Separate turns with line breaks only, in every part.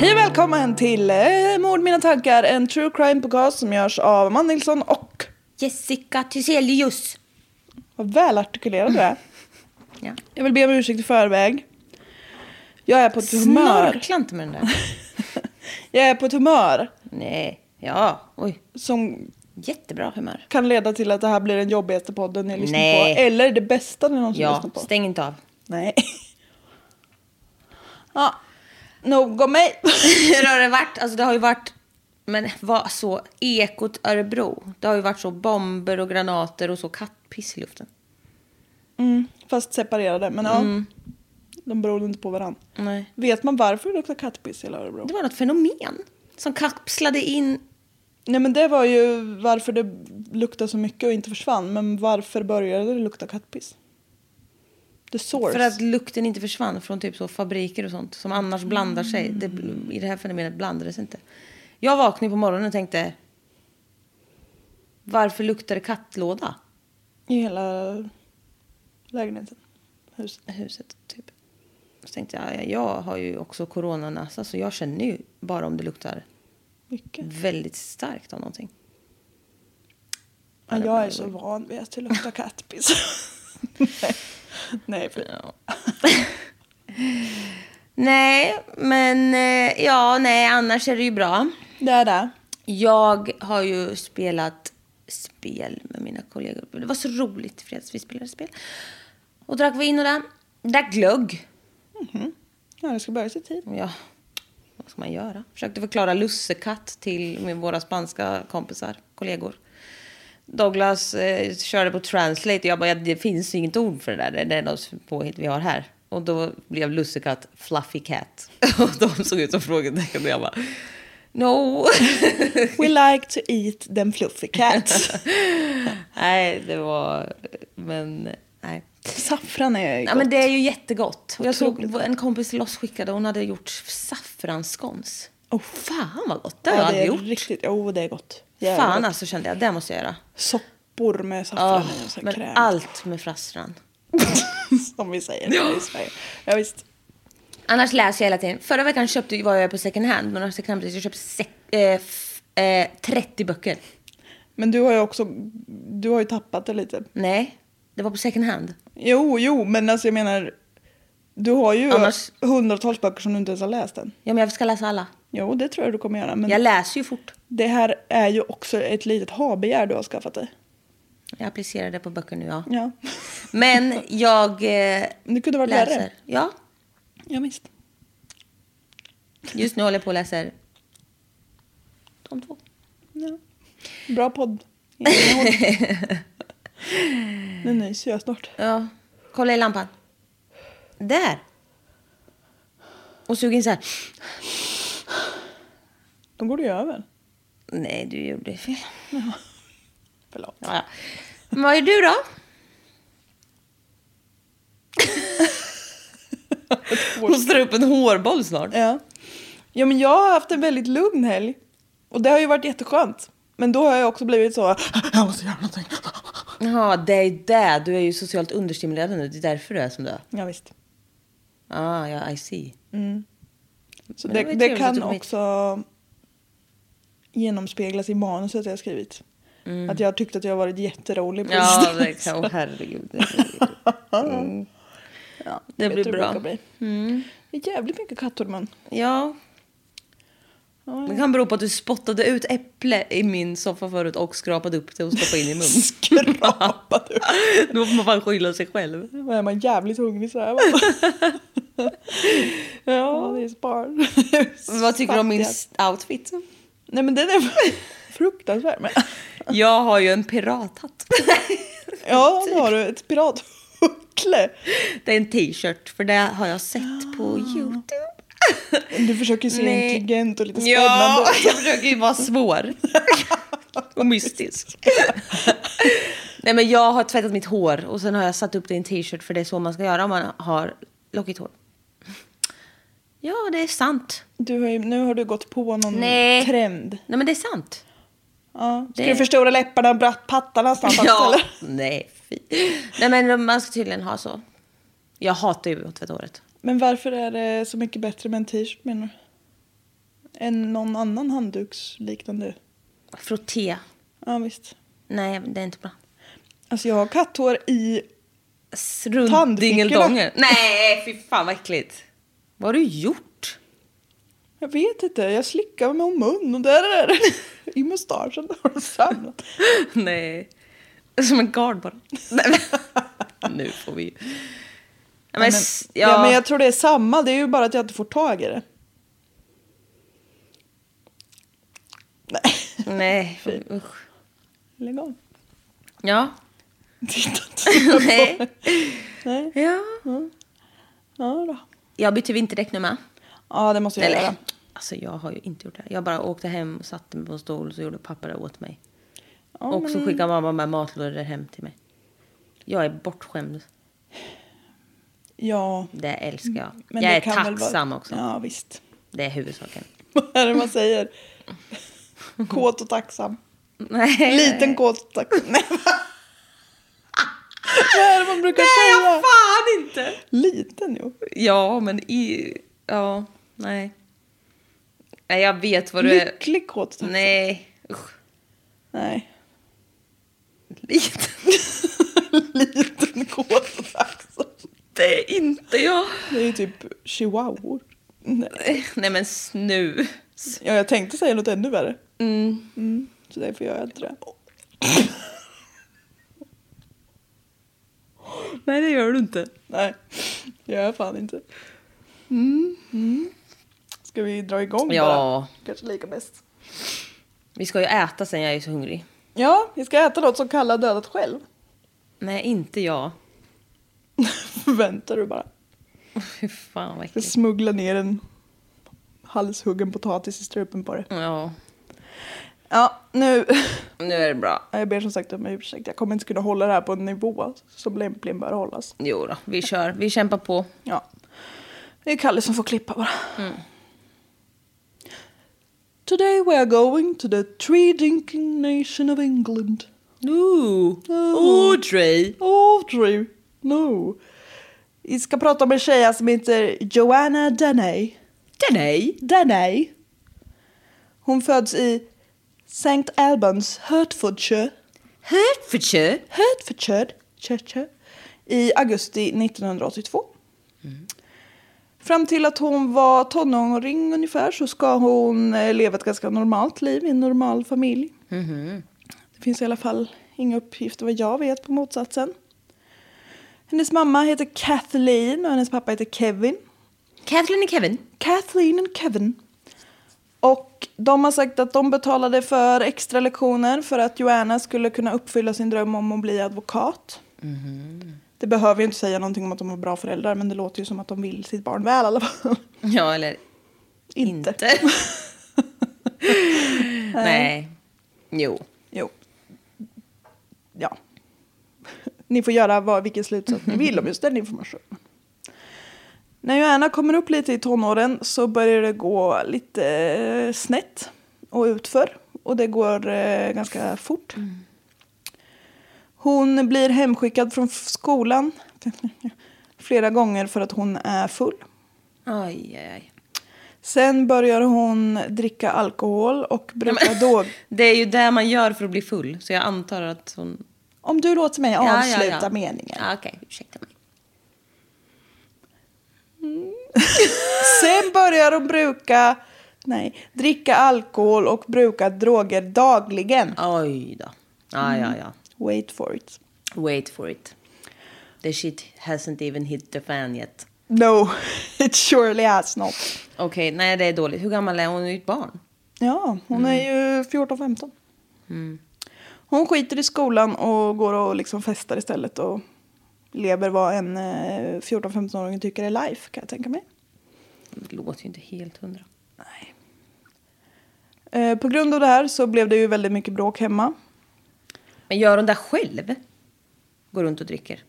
Hej och välkommen till eh, Mord mina tankar, en true crime podcast som görs av Amanda Nilsson och
Jessica Thyselius.
vad välartikulerad du är.
Ja.
Jag vill be om ursäkt i förväg. Jag är på ett humör.
Snorkla inte med den där.
Jag är på ett humör
Nej, ja, oj.
som
Jättebra humör.
kan leda till att det här blir den jobbigaste podden ni lyssnar
Nej.
på. Eller det bästa ni någonsin
Ja,
lyssnat på.
stäng inte av.
Nej. ja, nog om mig.
Hur har det varit? Alltså det har ju varit, men vad så, Ekot Örebro. Det har ju varit så bomber och granater och så kattpiss i luften.
Mm, Fast separerade, men ja.
Mm.
De beror inte på varandra.
Nej.
Vet man varför det luktar kattpiss i hela Örebro?
Det var något fenomen som kapslade in.
Nej men det var ju varför det luktade så mycket och inte försvann. Men varför började det lukta kattpiss? The source.
För att lukten inte försvann från typ så fabriker och sånt som annars blandar sig. Det, I det här fenomenet blandades inte. Jag vaknade på morgonen och tänkte. Varför luktar det kattlåda?
I hela lägenheten. Huset.
huset. Typ. Så tänkte jag, ja, jag har ju också coronanäsa så jag känner ju bara om det luktar
Mycket.
väldigt starkt av någonting.
Ja, jag är så
Mm.
van vid att det luktar kattpiss. Nej. Nej för...
Nej, men eh, ja, nej, annars är det ju bra.
Det är det.
Jag har ju spelat spel med mina kollegor. Det var så roligt i fredags. Vi spelade spel. Och drack vin och där. Drack glögg.
Ja, det ska börja i sin tid.
Ja, vad ska man göra? Försökte förklara lussekatt till med våra spanska kompisar, kollegor. Douglas eh, körde på translate och jag bara, "Ja, det finns ju inget ord för det där. Det är det enda påhitt vi har här. Och då blev lussekatt fluffy cat. Och de såg ut som frågetecken och jag bara, no.
We like to eat them fluffy cats.
nej, det var, men nej.
Saffran är gott.
Ja, men det är ju jättegott. Och Jag såg
Otroligt
en kompis lossskickade, hon hade gjort saffransscones.
Oh.
Fan vad gott, det
Ja,
har jag aldrig
är
gjort.
Riktigt... Jo, det är gott. Jävlar
Fan
gott.
alltså kände jag, det måste jag göra.
Soppor med
Ah,
saffran i och så här
men
kräm.
allt med frassran.
Som vi säger här i Sverige. Ja, visst.
Annars läser jag hela tiden. Förra veckan köpte, var jag på second hand, men har second hand jag köpte se, eh, f, eh, 30 böcker.
Men du har ju också du har ju tappat det lite.
Nej, det var på second hand.
Jo, jo, men alltså jag menar. Du har ju
Annars-
hundratals böcker som du inte ens har läst än.
Ja, men jag ska läsa alla.
Jo, det tror jag du kommer göra. Men
Jag läser ju fort.
det här är ju också ett litet ha-begär du har skaffat dig.
Jag applicerar det på böcker nu, ja.
Ja,
Men jag eh,
men det kunde varit värre.
läser. Ja,
Ja, visst.
just nu håller jag på och läser de två.
Ja. Bra podd. Innehåll. nu nyser jag snart.
Ja. Kolla i lampan. Där. Och sug in så här.
Då går det ju över.
Nej, du gjorde fel.
Förlåt.
Ja, ja. Men vad är du då? Hostar upp en hårboll snart.
Ja. ja, men jag har haft en väldigt lugn helg. Och det har ju varit jätteskönt. Men då har jag också blivit så, jag måste göra någonting.
Ja, det är det. Du är ju socialt understimulerad nu. Det är därför du är som du är.
Ja, visst.
Ah, ja, I see.
Så
Men det
det,
var
det,
ju trevligt att
kan
du kom hit.
också genomspeglas i manuset jag har skrivit. Att jag har tyckt att jag har varit jätterolig på
Mm. Ja,
distans.
det kan, oh, herregud. Mm. det
Vet
blir
du hur
bra. Mm.
brukar bli. Det är jävligt mycket katthormon.
Ja. Det kan bero på att du spottade ut äpple i min soffa förut och skrapade upp det och stoppade in i munnen.
Skrapade upp.
Då får man fan skylla sig själv.
Då är man jävligt hungrig så här. bara. Ja, det är sparr.
Vad tycker du om min
Fattiga.
s- outfit?
Nej men den är fruktansvärd. Men...
Jag har ju en pirathatt.
Ja, då har du ett pirathuckle.
Det är en t-shirt, för det har jag sett på
Ah.
Youtube.
Du försöker se
Nej.
intelligent och lite spännande
Ja,
ut.
jag försöker ju vara svår. Och mystisk. Nej men jag har tvättat mitt hår och sen har jag satt upp det i en t-shirt för det är så man ska göra om man har lockigt hår. Ja, det är sant.
Du har ju, nu har du gått på någon
Nej.
trend.
Nej men det är sant.
Ja. Ska
Det-
du förstora läpparna och bratt pattarna snabbt
Ja.
eller?
Nej, fy. Nej men man ska tydligen ha så. Jag hatar ju att tvätta håret.
Men varför är det så mycket bättre med en t-shirt menar du? Än någon annan handduksliknande?
Frotté.
Ja visst.
Nej, det är inte bra.
Alltså jag har katthår i...
S- Runt
Tandfickorna.
dingeldongen. Nej, fy fan vad äckligt. Vad har du gjort?
Jag vet inte, jag slickar mig om mun och där är det. I mustaschen har det samlat.
Nej. Som en gard bara. Nej, men- nu får vi ju... Nej, Men,
Men,
s-
ja. men jag tror det är samma, det är ju bara att jag inte får tag i det. Nej,
Nej, usch.
lägg av.
Ja.
Titta inte.
Nej.
Nej.
Ja.
Ja, då.
Jag bytte vinterdäck nu med.
ja, det måste jag
Eller?
göra.
Alltså jag har ju inte gjort det. Jag bara åkte hem och satte mig på en stol så gjorde pappa det åt mig.
Ja,
och så skickade mamma med matlådor hem till mig. Jag är bortskämd.
Ja.
Det älskar jag.
Mm, Men
jag
det
är
kan väl
tacksam
vara...
också.
Ja, visst.
Det är huvudsaken.
Vad är det man säger? Kåt och tacksam.
Nej.
Liten kåt och tacksam. Nej, va? Vad är det man brukar
Nej,
säga?
jag fan inte!
Liten, jo.
Ja, men i... Ja, nej. Nej, jag vet vad du är.
Lycklig kåt och tacksam.
Nej, usch.
Nej.
Liten.
Liten kåt och tacksam.
Det är inte jag.
Det är ju typ chihuahuor. Nej.
Nej, men snu.
Ja, jag tänkte säga något ännu värre. Mm, så därför gör jag inte det.
Nej, det gör du inte.
Nej, det gör jag fan inte. Mm. Ska vi dra igång
Mm. Ja.
bara? Kanske lika bäst.
Vi ska ju äta sen, jag är ju så hungrig.
Ja, vi ska äta något som Kalle har dödat själv.
Nej, inte jag.
Väntar du bara.
Fy fan vad
Ska
äckligt.
smuggla ner en halshuggen potatis i strupen på det.
Ja,
Ja, nu.
nu är det bra.
Jag ber som sagt om ursäkt. Jag kommer inte kunna hålla det här på en nivå som lämpligen bör hållas.
Jo då, vi kör. Vi kämpar på.
Ja. Det är Kalle som får klippa bara. Today we are going to the tree drinking nation of England.
Ooh. Audrey!
Audrey, no. Vi ska prata om en tjej som heter Joanna Daney.
Danny!
Daney. Hon föds i St. Albans, Hertfordshire.
Hertfordshire!
Hertfordshire Churchill, i augusti 1982. Fram till att hon var tonåring ungefär så ska hon eh, leva ett ganska normalt liv i en normal familj. Det finns i alla fall inga uppgifter vad jag vet på motsatsen. Hennes mamma heter Kathleen och hennes pappa heter Kevin.
Kathleen och Kevin.
Kathleen och Kevin. Och de har sagt att de betalade för extra lektioner för att Joanna skulle kunna uppfylla sin dröm om att bli advokat. Det behöver ju inte säga någonting om att de var bra föräldrar men det låter ju som att de vill sitt barn väl i alla fall.
Ja, eller
inte.
Nej. Jo.
Jo. Ja. Ni får göra vad, vilken slutsats ni vill om just den informationen. När Joanna kommer upp lite i tonåren så börjar det gå lite eh, snett och utför. Och det går eh, ganska fort.
Mm.
Hon blir hemskickad från f- skolan flera gånger för att hon är full.
Aj, aj, aj.
Sen börjar hon dricka alkohol och brukar då...
Det är ju det man gör för att bli full. Så jag antar att hon...
Om du låter mig
Ja, ja,
avsluta
ja.
meningen.
Ja, Okej, ursäkta mig.
Sen börjar hon bruka... Nej, dricka alkohol och bruka droger dagligen.
Oj då. Ja, ja, ja.
Wait for it.
Wait for it. The shit hasn't even hit the fan yet.
No, it surely has not.
Okej, nej det är dåligt. Hur gammal är hon? Hon är ju ett barn.
Ja, hon är ju 14-15. Hon skiter i skolan och går och liksom festar istället och lever vad en eh, 14-15-åring tycker är life, kan jag tänka mig.
Det låter ju inte helt hundra.
Nej. Eh, på grund av det här så blev det ju väldigt mycket bråk hemma.
Men gör hon det själv? Går runt och dricker?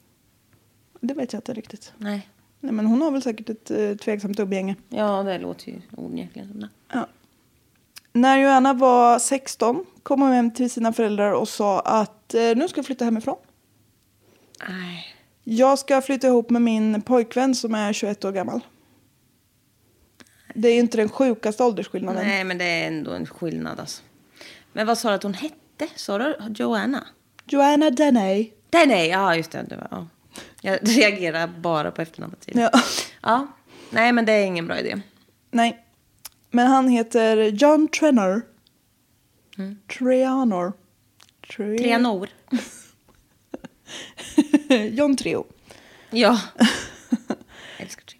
Det vet jag inte riktigt.
Nej.
Nej, men hon har väl säkert ett eh, tveksamt umgänge.
Ja, det låter ju onekligen som det.
Ja. När Joanna var 16 kom hon hem till sina föräldrar och sa att eh, nu ska jag flytta hemifrån.
Nej.
Jag ska flytta ihop med min pojkvän som är 21 år gammal. Det är ju inte den sjukaste åldersskillnaden.
Nej, men det är ändå en skillnad alltså. Men vad sa du att hon hette? Sa du Joanna?
Joanna Deney.
Nej, nej, ja just det. det var, ja. Jag reagerar bara på efternamnet. typ.
Ja.
ja. Nej, men det är ingen bra idé.
Nej. Men han heter John Trenor. Trianor. Tre-
Trianor.
John Treo.
Ja. Älskar tre.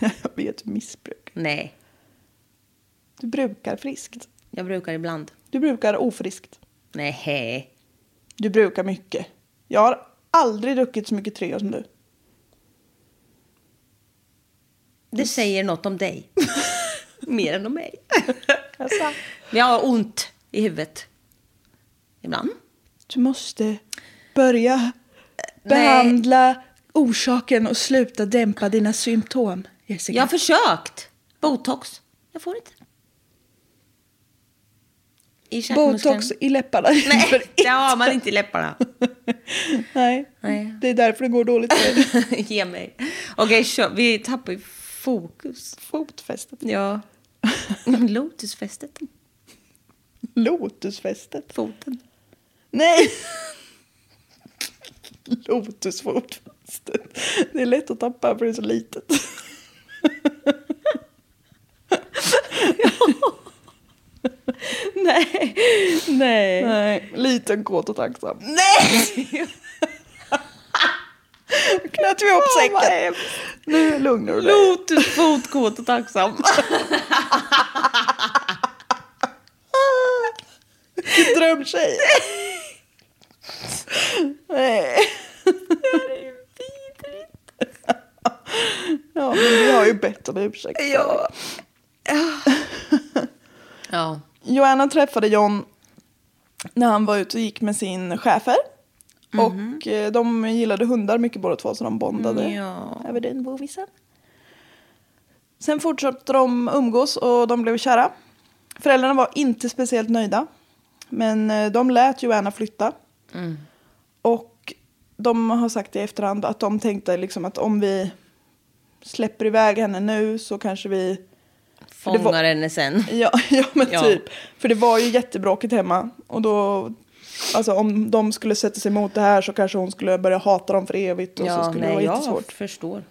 Jag vet, missbruk.
Nej,
Du brukar friskt.
jag brukar ibland.
Du brukar ofriskt.
Nej.
Du brukar mycket. Jag har aldrig druckit så mycket Treo som du.
Det säger något om dig. Mer än om mig.
Jaså?
Men Jag har ont i huvudet. Ibland.
Du måste börja behandla orsaken och sluta dämpa dina symptom, Jessica.
Jag har försökt. Botox. Jag får inte. I käkmuskeln.
Botox i läpparna.
Nej,
För
det har man inte i läpparna.
Nej.
Nej.
det är därför det går dåligt för dig.
Ge mig. Okej, kör. vi tappar ju fokus.
Fotfästet.
Ja. Lotusfästet.
Lotusfästet.
Foten.
Nej! Lotusfotfästet. Det är lätt att tappa för det är så litet.
Nej. Nej.
Nej, liten, kåt och tacksam.
Nej!
knöt vi ihop
Oh,
säcken. Nu lugnar du dig.
Lotusfot, kåt och tacksam.
Vilken drömtjej. Nej. Ja, men vi har ju bett om ursäkt. för det.
Ja. Ja.
Joanna träffade John när han var ute och gick med sin chefer. Och eh, de gillade hundar mycket båda två så de bondade
Ja.
över den bovisen. Sen fortsatte de umgås och de blev kära. Föräldrarna var inte speciellt nöjda. Men eh, de lät Joanna flytta. Och de har sagt i efterhand att de tänkte liksom att om vi släpper iväg henne nu så kanske vi var-
Fångar henne sen.
Ja, ja men
Ja.
typ. För det var ju jättebråkigt hemma. Och då, alltså om de skulle sätta sig emot det här så kanske hon skulle börja hata dem för evigt. Och så
Ja,
skulle det
nej,
vara
jag
jättesvårt.
förstår.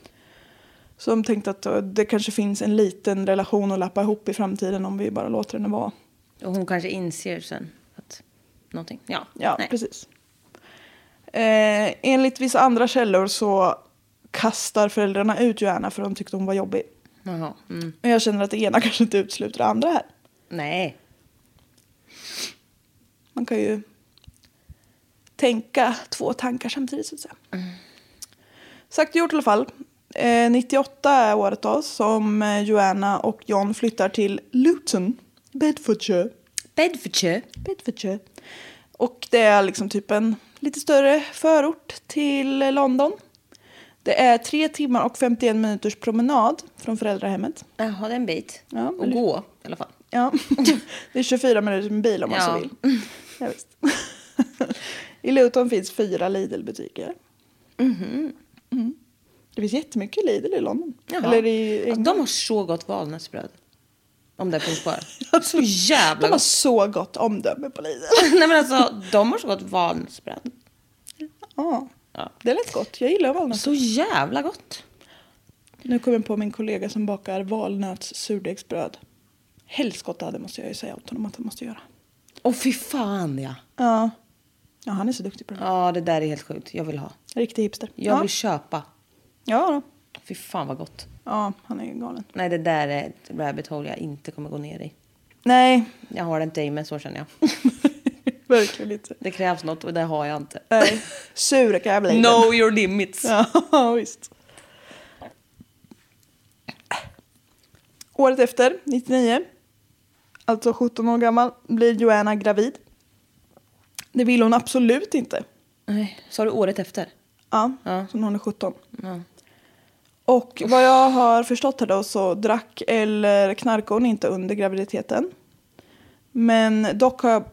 Så de tänkte att eh, det kanske finns en liten relation att lappa ihop i framtiden om vi bara låter henne vara.
Och hon kanske inser sen att någonting. Ja,
Ja,
nej.
precis. Eh, enligt vissa andra källor så kastar föräldrarna ut Joanna för de tyckte hon var jobbig.
Jaha. Mm.
Men jag känner att det ena kanske inte utesluter det andra här.
Nej.
Man kan ju tänka två tankar samtidigt så att säga. Sagt och gjort i alla fall. Eh, 98 är året då som eh, Joanna och John flyttar till Luton, Bedfordshire.
Bedfordshire.
Bedfordshire. Och det är liksom typ en lite större förort till London. Det är tre timmar och 51 minuters promenad från föräldrahemmet.
Jaha, det är en bit.
Ja,
och
eller-
gå i alla fall.
Ja, det är 24 minuter med bil om man så
Ja.
vill. Ja, visst. I Luton finns fyra Lidl-butiker. Mm. Det finns jättemycket Lidl i London.
Mhm. Jaha.
Eller i
alltså, de har så gott valnötsbröd. Om det finns kvar. Så
Alltså, De
jävla
har
gott.
så gott omdöme på Lidl.
Nej men alltså, de har så gott valnötsbröd.
Ja,
Ja.
det lät gott. Jag gillar valnöt.
Så jävla gott.
Nu kom jag på min kollega som bakar valnötssurdegsbröd. Helskotta det måste jag ju säga åt honom att han måste göra.
Åh fy fan ja.
Ja. ja, han är så duktig på det.
Ja, det där är helt sjukt. Jag vill ha.
Riktig hipster.
Jag
ja.
vill köpa.
ja, då.
Fy fan vad gott.
ja, han är ju galen.
Nej, det där är ett rabbit hole jag inte kommer gå ner i.
Nej,
Jag har det inte i mig, så känner jag.
verkligen inte.
Det krävs något och det har jag inte.
Nej, sur kan jag bli.
Know your limits.
Ja, visst. Året efter, 99, alltså 17 år gammal, blir Joanna gravid. Det vill hon absolut inte.
Nej. Sa du året efter?
Ja,
Ja.
så när hon är 17.
Ja.
Och vad jag har förstått här då så drack eller knarkade hon inte under graviditeten. Men dock har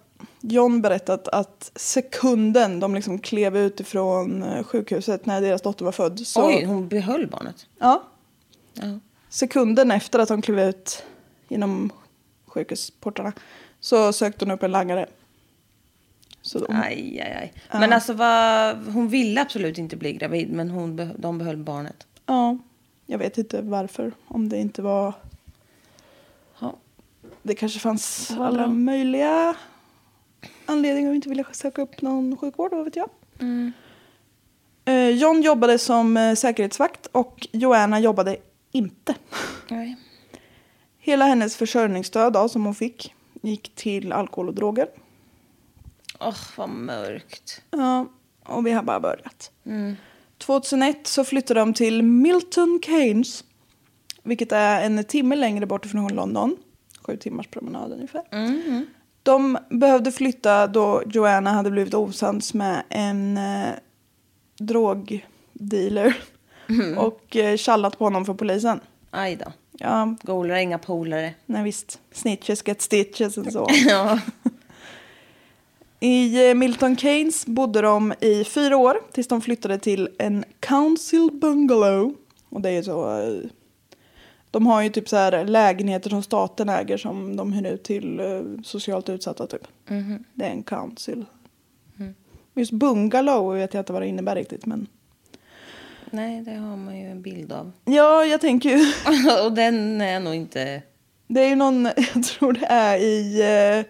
John berättat att sekunden de liksom klev ut ifrån eh, sjukhuset när deras dotter var född så...
Oj, hon behöll barnet.
Ja,
Ja.
sekunden efter att de klev ut genom sjukhusportarna så sökte hon upp en langare. Så de,
Aj, aj, aj. Men alltså, vad, hon ville absolut inte bli gravid, men hon, be- de behöll barnet.
ja, jag vet inte varför. Om det inte var...
Ja.
Det kanske fanns alla möjliga anledningar att inte vilja söka upp någon sjukvård, vad vet jag. Eh, John jobbade som eh, säkerhetsvakt och Joanna jobbade inte.
Nej.
Hela hennes försörjningsstöd då, som hon fick gick till alkohol och droger.
Åh, vad mörkt.
Ja, och vi har bara börjat. 2001 så flyttade de till Milton Keynes, vilket är en timme längre bort från London. Sju timmars promenad ungefär. De behövde flytta då Joanna hade blivit osams med en eh, drogdealer och eh, tjallat på honom för polisen.
Aj då.
Ja,
Golare, inga polare.
nej visst. Snitches get stitches och så.
Ja.
I eh, Milton Keynes bodde de i fyra år tills de flyttade till en council bungalow. Och det är ju så... eh, De har ju typ så här lägenheter som staten äger som de hyr ut till eh, socialt utsatta typ. Det är en council. Just bungalow vet jag inte vad det innebär riktigt men...
Nej, det har man ju en bild av.
Ja, jag tänker ju...
och den är nog inte...
Det är ju någon, jag tror det är i eh,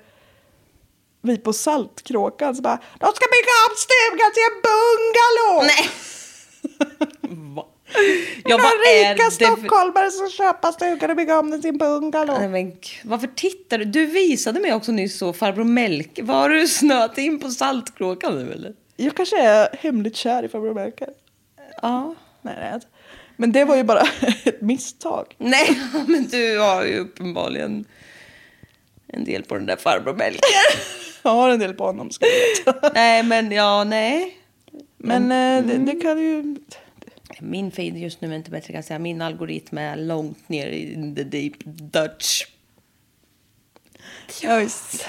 Vi på Saltkråkan så bara De ska bygga om stugan till en bungalow!
Nej! Va? Jag
Några
bara, är
rika
det för-
stockholmare som köpa stugan och bygga om den till en bungalow.
Nej, men, g- varför tittar du? Du visade mig också nyss så farbror Melke. Var du snöat in på Saltkråkan nu eller?
Jag kanske är hemligt kär i farbror Melker.
Ja.
Nej, nej. alltså. Men det var ju bara ett misstag.
Nej, men du har ju uppenbarligen en del på den där farbror Melke.
Jag har en del på honom ska jag veta.
nej, Mm. men ja, nej.
Men eh, det, det kan ju...
Min feed just nu är inte bättre kan jag säga. Min algoritm är långt ner i the deep Dutch.
Ja, visst.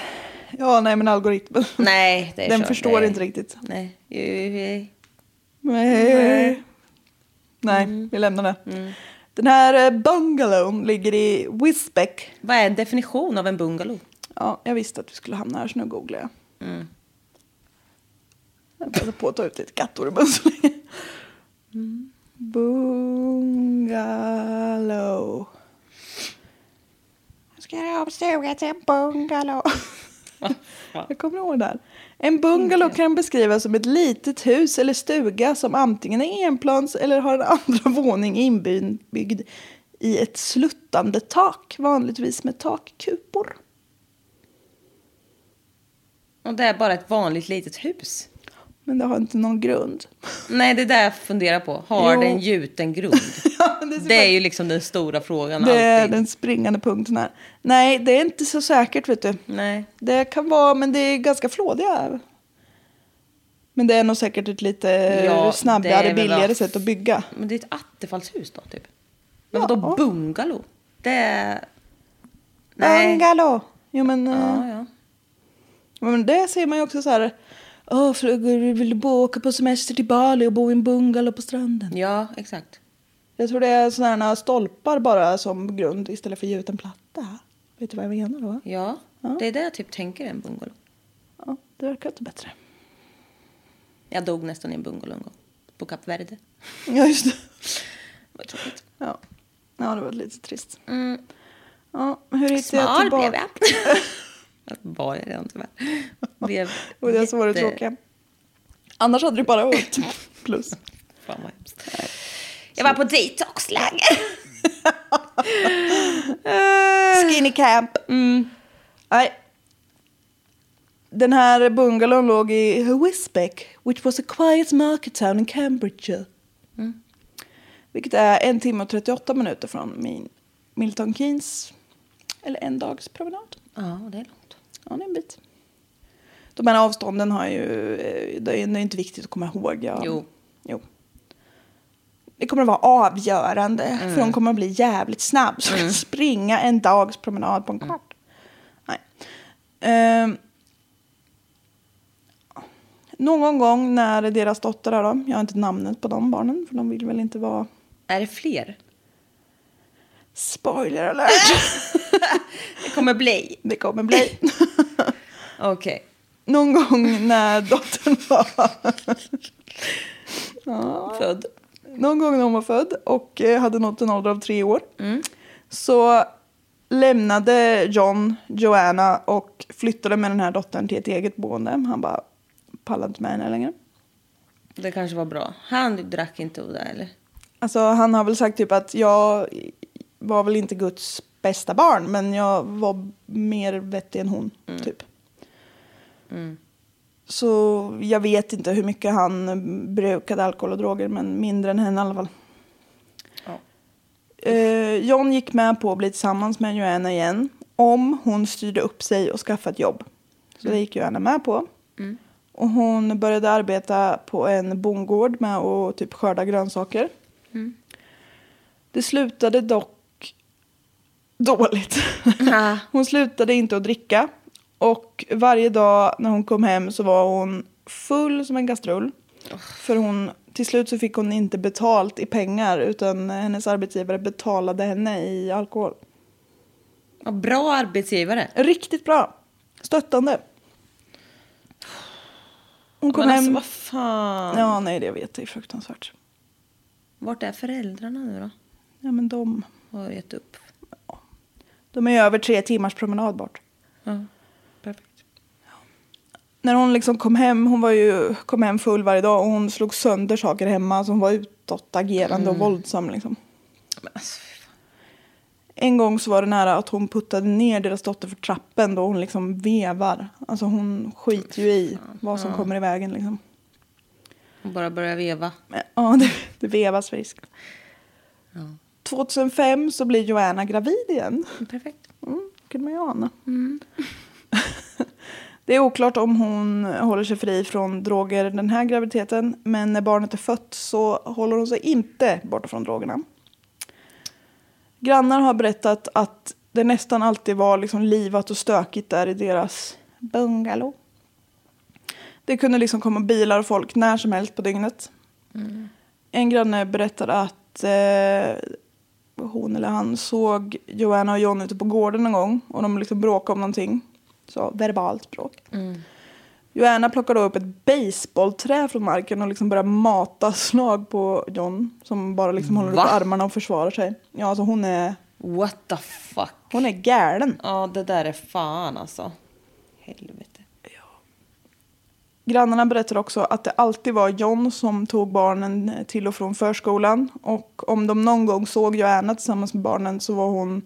Ja, nej men algoritmen.
Nej, det är
Den
kört.
förstår
Nej.
inte riktigt.
Nej. Eh, eh,
Nej, Mm. nej vi lämnar det. Den här eh, bungalown ligger i Wisbeck.
Vad är en definition av en bungalow?
Ja, jag visste att vi skulle hamna här så nu googlar jag. Jag passar på att ta ut lite katter ur mun så länge. Mm. Bungalow. Jag ska göra om stugan till en bungalow. Jag kommer ihåg det här. En bungalow kan beskrivas som ett litet hus eller stuga som antingen är enplans eller har en andra våning inbyggd i ett sluttande tak, vanligtvis med takkupor.
Och det är bara ett vanligt litet hus.
Men det har inte någon grund.
Nej, det är där jag funderar på. Har
Jo.
det en gjuten grund?
Ja, men det är så
det är
faktiskt-
ju liksom den stora frågan
Det är
alltid.
den springande punkten här. Nej, det är inte så säkert vet du.
Nej.
Det kan vara, men det är ganska flådiga. Men det är nog säkert ett lite
Ja, det är
snabbare,
väl
billigare
vad-
sätt att bygga.
Men det är ett attefallshus då, typ. Men vadå
Ja.
bungalow? Det är...
Bungalow! Jo men,
Ja,
eh,
ja.
men det ser man ju också så här. Åh, frögor, vill du bo- åka på semester till Bali och bo i en bungalow på stranden?
Ja, exakt.
Jag tror det är sådana här stolpar bara som grund istället för gjuten platta. Vet du vad jag menar då?
Ja,
Ja.
det är det jag typ tänker är en bungalow.
Ja, det verkar inte bättre.
Jag dog nästan i en bungalow en gång. På Kap Verde.
Ja, just det.
Vad tråkigt.
Ja, ja det var lite trist. Ja, hur gick det
Mm. Smal blev
tillbaka?
jag. jag var jag redan tyvärr. Blev
Och det som var det
jätte-
tråkiga. Annars hade det bara varit plus.
Fan vad hemskt. Jag var på detoxläger.
Skinny camp. Nej. Den här bungalown låg i Whispec, which was a quiet market town in Cambridgeshire. Vilket är en timme och 38 minuter från min Milton Keynes, eller en dags promenad.
Ja, det är långt.
Ja, det är en bit. De här avstånden har ju... eh, Det är det är inte viktigt att komma ihåg. Jag,
Jo.
jo. Det kommer att vara avgörande, för de kommer att bli jävligt snabb. Så springa en dags promenad på en kvart. Nej. Ehm. någon gång när deras dotter är då, jag har inte namnet på de barnen, för de vill väl inte vara...
Är det fler?
Spoiler alert!
Det kommer bli.
det kommer bli.
Okej.
någon gång när dottern var...
Född.
någon gång när hon var född och eh, hade nått en ålder av tre år så lämnade John Joanna och flyttade med den här dottern till ett eget boende. Han bara pallade inte med henne längre.
Det kanske var bra. Han drack inte och det, eller?
Alltså, han har väl sagt typ att jag var väl inte Guds bästa barn men jag var mer vettig än hon, typ. Så jag vet inte hur mycket han brukade alkohol och droger men mindre än henne i alla fall.
Ja.
Eh, John gick med på att bli tillsammans med Joanna igen om hon styrde upp sig och skaffade ett jobb. Så det gick Joanna med på. Och hon började arbeta på en bondgård med att typ skörda grönsaker. Det slutade dock dåligt.
Ah.
hon slutade inte att dricka. Och varje dag när hon kom hem så var hon full som en kastrull. För hon, till slut så fick hon inte betalt i pengar utan hennes arbetsgivare betalade henne i alkohol.
Ja, bra arbetsgivare.
Riktigt bra. Stöttande. Hon kom
Men alltså,
hem...
vad fan.
Ja, nej, det vet jag. Det är fruktansvärt.
Vart är föräldrarna nu då?
Ja, men de...
Har gett upp.
De är ju över tre timmars promenad bort.
Ja, perfekt.
När hon liksom kom hem, hon var ju, kom hem full varje dag och hon slog sönder saker hemma. Så hon var utåtagerande och våldsam. Liksom.
Mm. Men alltså, fy fan.
En gång så var det nära att hon puttade ner deras dotter för trappen då hon liksom vevar. Alltså hon skiter ju i vad som kommer i vägen liksom.
Hon bara börjar veva.
Men, Ja, det, det vevas friskt. 2005 så blir Joanna gravid igen.
Perfekt.
Mm, kunde man ju ana. det är oklart om hon håller sig fri från droger den här graviditeten. Men när barnet är fött så håller hon sig inte borta från drogerna. Grannar har berättat att det nästan alltid var liksom livat och stökigt där i deras bungalow. Det kunde liksom komma bilar och folk när som helst på dygnet. En granne berättade att eh, hon eller han såg Joanna och John ute på gården en gång och de liksom bråkade om någonting. Så verbalt bråk. Joanna plockade då upp ett baseballträ från marken och liksom började mata slag på John som bara liksom håller
Va?
upp armarna och försvarar sig. Ja, alltså hon är,
What the fuck.
hon är galen.
Ja, det där är fan alltså. Helvete.
Grannarna berättar också att det alltid var John som tog barnen till och från förskolan. Och om de någon gång såg Joanna tillsammans med barnen så var hon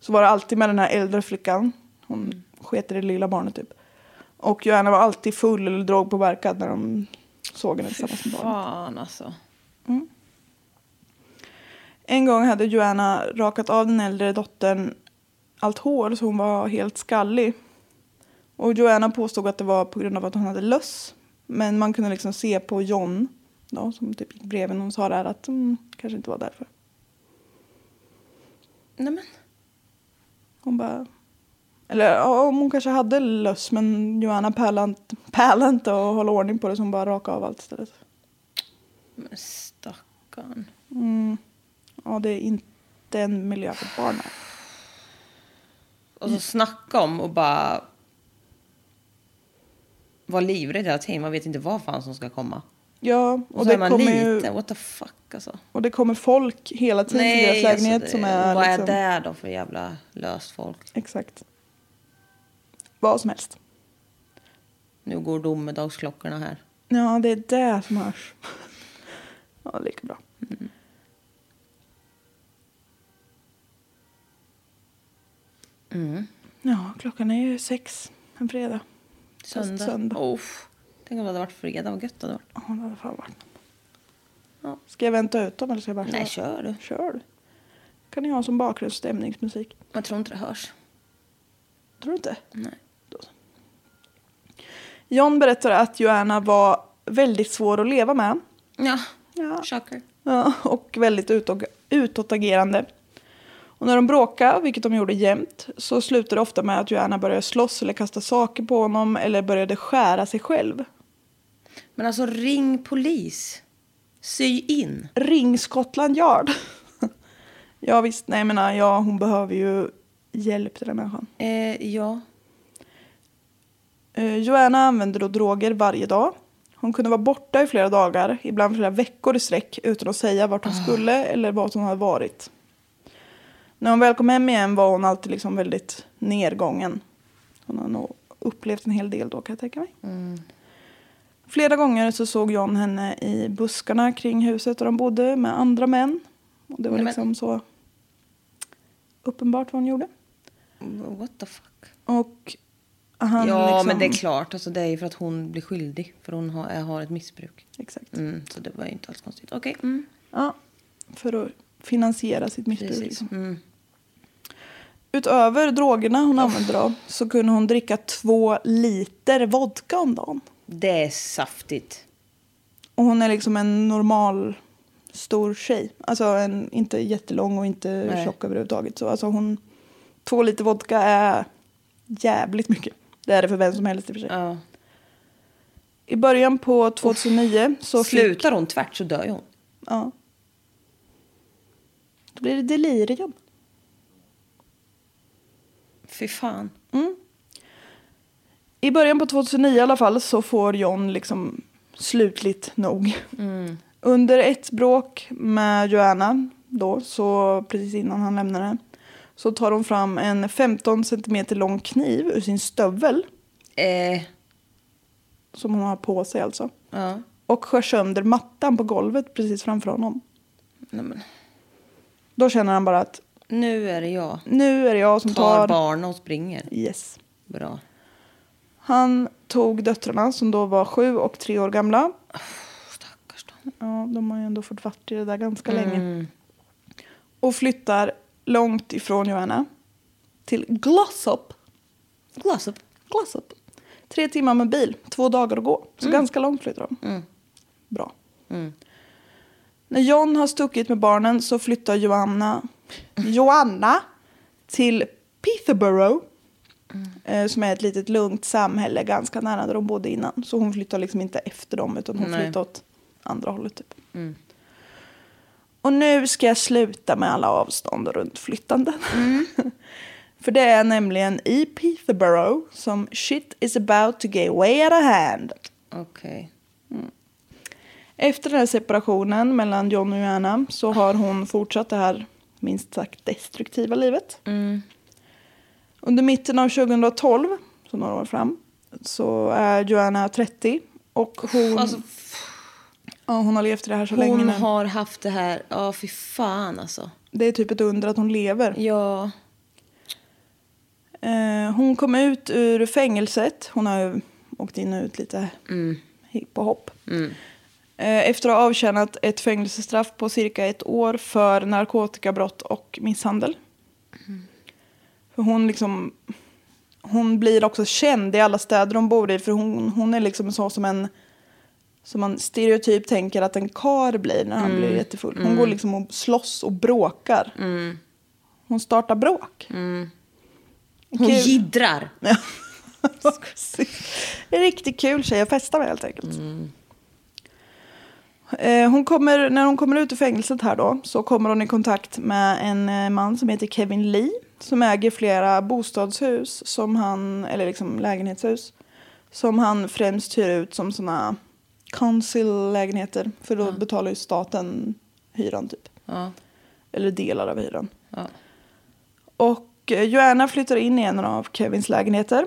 så var det alltid med den här äldre flickan. Hon sket i det lilla barnet typ. Och Joanna var alltid full eller drogpåverkad när de såg henne tillsammans med barnen.
Fan alltså.
En gång hade Joanna rakat av den äldre dottern allt hår så hon var helt skallig. Och Joanna påstod att det var på grund av att hon hade löss. Men man kunde liksom se på John, då, som typ gick bredvid någon och sa där att mm, kanske inte var därför.
Nej men.
Hon bara... Eller ja, om hon kanske hade löss men Johanna pärlant, pärlant och hålla ordning på det så hon bara rakade av allt istället.
Men stackarn.
Mm. Ja, det är inte en miljö för barn. nej.
Och så snacka om och bara... Vara livrädd hela tiden. Man vet inte vad fan som ska komma.
Ja,
Och,
och
så
det,
är man
kommer
liten.
ju,
What the fuck alltså.
och det kommer folk hela tiden till deras
alltså,
lägenhet
det-
som är...
Vad
liksom,
är det då för jävla löst folk?
Exakt. Vad som helst.
Nu går domedagsklockorna här.
Ja, det är det som hörs. ja, det är lika bra.
Mm.
Ja, klockan är ju sex en fredag. Fast
Söndag.
Söndag.
Oh, tänk om det hade varit fredag. Vad gött det hade varit.
Ja, det hade fan varit
Ja.
Ska jag vänta ut dem eller ska jag bara
Nej, kör du.
Kör du. Kan jag ha som bakgrundsstämningsmusik.
Jag tror inte det hörs.
Tror du inte?
Nej.
John berättar att Joanna var väldigt svår att leva med.
Ja,
Ja.
shocker.
Ja, och väldigt utåg- utåtagerande. Och när de bråkar, vilket de gjorde jämt, så slutar det ofta med att Joanna börjar slåss eller kasta saker på honom eller började skära sig själv.
Men alltså ring polis. Sy in.
Ring Scotland Yard! ja visst, nej jag menar, ja, hon behöver ju hjälp den här människan.
Eh, ja.
Eh, Joanna använde då droger varje dag. Hon kunde vara borta i flera dagar, ibland flera veckor i sträck utan att säga vart
Ah.
hon skulle eller vart hon hade varit. När hon väl kom hem igen var hon alltid liksom väldigt nedgången. Hon har nog upplevt en hel del då kan jag tänka mig.
Mm.
Flera gånger så såg John henne i buskarna kring huset där de bodde med andra män. Och det var
Nej, men-
liksom så uppenbart vad hon gjorde.
What the fuck.
Och han
ja,
liksom...
men det är klart. Alltså, det är ju för att hon blir skyldig. För hon har, eh, har ett missbruk.
Exakt.
Mm, så det var ju inte alls konstigt. Okej. Mm.
Ja, för att finansiera sitt missbruk.
Precis.
Liksom.
Mm.
Utöver drogerna hon använde då, så kunde hon dricka två liter vodka om dagen.
Det är saftigt.
Och hon är liksom en normal stor tjej. Alltså en, inte jättelång och inte
Nej.
tjock överhuvudtaget. Så alltså hon, två liter vodka är jävligt mycket. Det är det för vem som helst i och för sig.
Ja.
I början på 2009 så... fick-
Slutar hon tvärt så dör ju hon.
Ja. Då blir det delirium.
Fy fan.
I början på 2009 i alla fall så får John liksom slutligt nog. Under ett bråk med Joanna då, så precis innan han lämnar henne, så tar hon fram en 15 centimeter lång kniv ur sin stövel,
Eh,
som hon har på sig alltså,
ja.
och skär sönder mattan på golvet precis framför honom.
Nej, men.
Då känner han bara att
Nu är det jag.
nu är det jag som
Tar
tar...
barn och springer.
Yes.
Bra.
Han tog döttrarna som då var sju och tre år gamla
Stackars dem.
Ja, de har ju ändå fått vart i det där ganska länge. Och flyttar långt ifrån Joanna till Glossop.
Glossop.
Glossop. Tre timmar med bil, två dagar att gå. Så ganska långt flyttar de. Bra. När John har stuckit med barnen så flyttar Joanna, Joanna till Peterborough. eh, Som är ett litet lugnt samhälle ganska nära där de bodde innan. Så hon flyttar liksom inte efter dem utan hon
Nej.
flyttar åt andra hållet. Typ. Och nu ska jag sluta med alla avstånd och runtflyttanden. För det är nämligen E i Peterborough som shit is about to get way out of hand.
Okej.
Efter den här separationen mellan John och Joanna så har hon fortsatt det här minst sagt destruktiva livet.
Mm.
Under mitten av 2012, så några år fram, så är Joanna 30 och hon,
Alltså,
ja, hon har levt i det här så länge
hon
nu.
har haft det här. Ja, fy fan alltså.
Det är typ ett under att hon lever.
Ja.
Eh, hon kom ut ur fängelset. Hon har ju åkt in och ut lite
Mm.
hipp och hopp. Eh, efter att ha avtjänat ett fängelsestraff på cirka ett år för narkotikabrott och misshandel. För hon liksom... Hon blir också känd i alla städer hon bor i för hon, hon är liksom så som en Som man stereotyp tänker att en kar blir när han blir jättefull. Hon går liksom och slåss och bråkar. Hon startar bråk.
Hon
Kul.
jiddrar.
Ja. en riktigt kul tjej att festa med helt enkelt. Eh, Hon kommer, när hon kommer ut ur fängelset här då så kommer hon i kontakt med en eh, man som heter Kevin Lee som äger flera bostadshus som han, eller liksom lägenhetshus som han främst hyr ut som såna council-lägenheter för då betalar ju staten hyran typ.
Ja.
Eller delar av hyran.
Ja.
Och eh, Joanna flyttar in i en av Kevins lägenheter.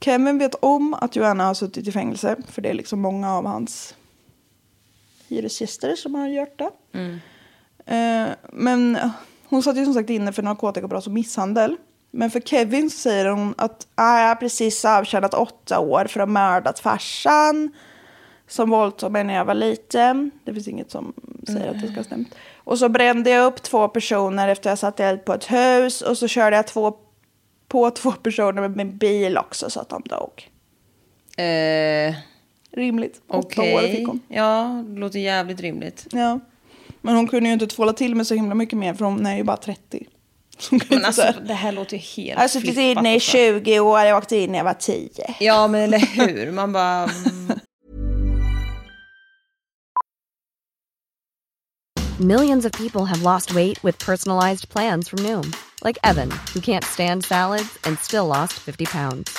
Kevin vet om att Joanna har suttit i fängelse för det är liksom många av hans hyresgäster som har gjort det. Eh, men hon satt ju som sagt inne för narkotikabrott och misshandel. Men för Kevin så säger hon att "Ah, jag har precis avtjänat åtta år för att ha mördat farsan som våldtog mig när jag var liten. Det finns inget som säger att det ska ha stämt. Och så brände jag upp två personer efter jag satt eld på ett hus och så körde jag två, på två personer med min bil också så att de dog.
Eh,
Rimligt. Åtta
Okej.
år fick hon.
Ja, det låter jävligt rimligt.
Ja. Men hon kunde ju inte tvåla till med så himla mycket mer för hon är ju bara 30. Så hon kunde
Men
inte
alltså,
så här-
det här låter ju helt
jag har suttit
flippat
inne i
alltså.
20 år, jag åkte in när jag var 10.
Ja, men eller hur? Man bara... mm.
Millions of people have lost weight with personalized plans from Noom, like Evan, who can't stand salads and still lost 50 pounds.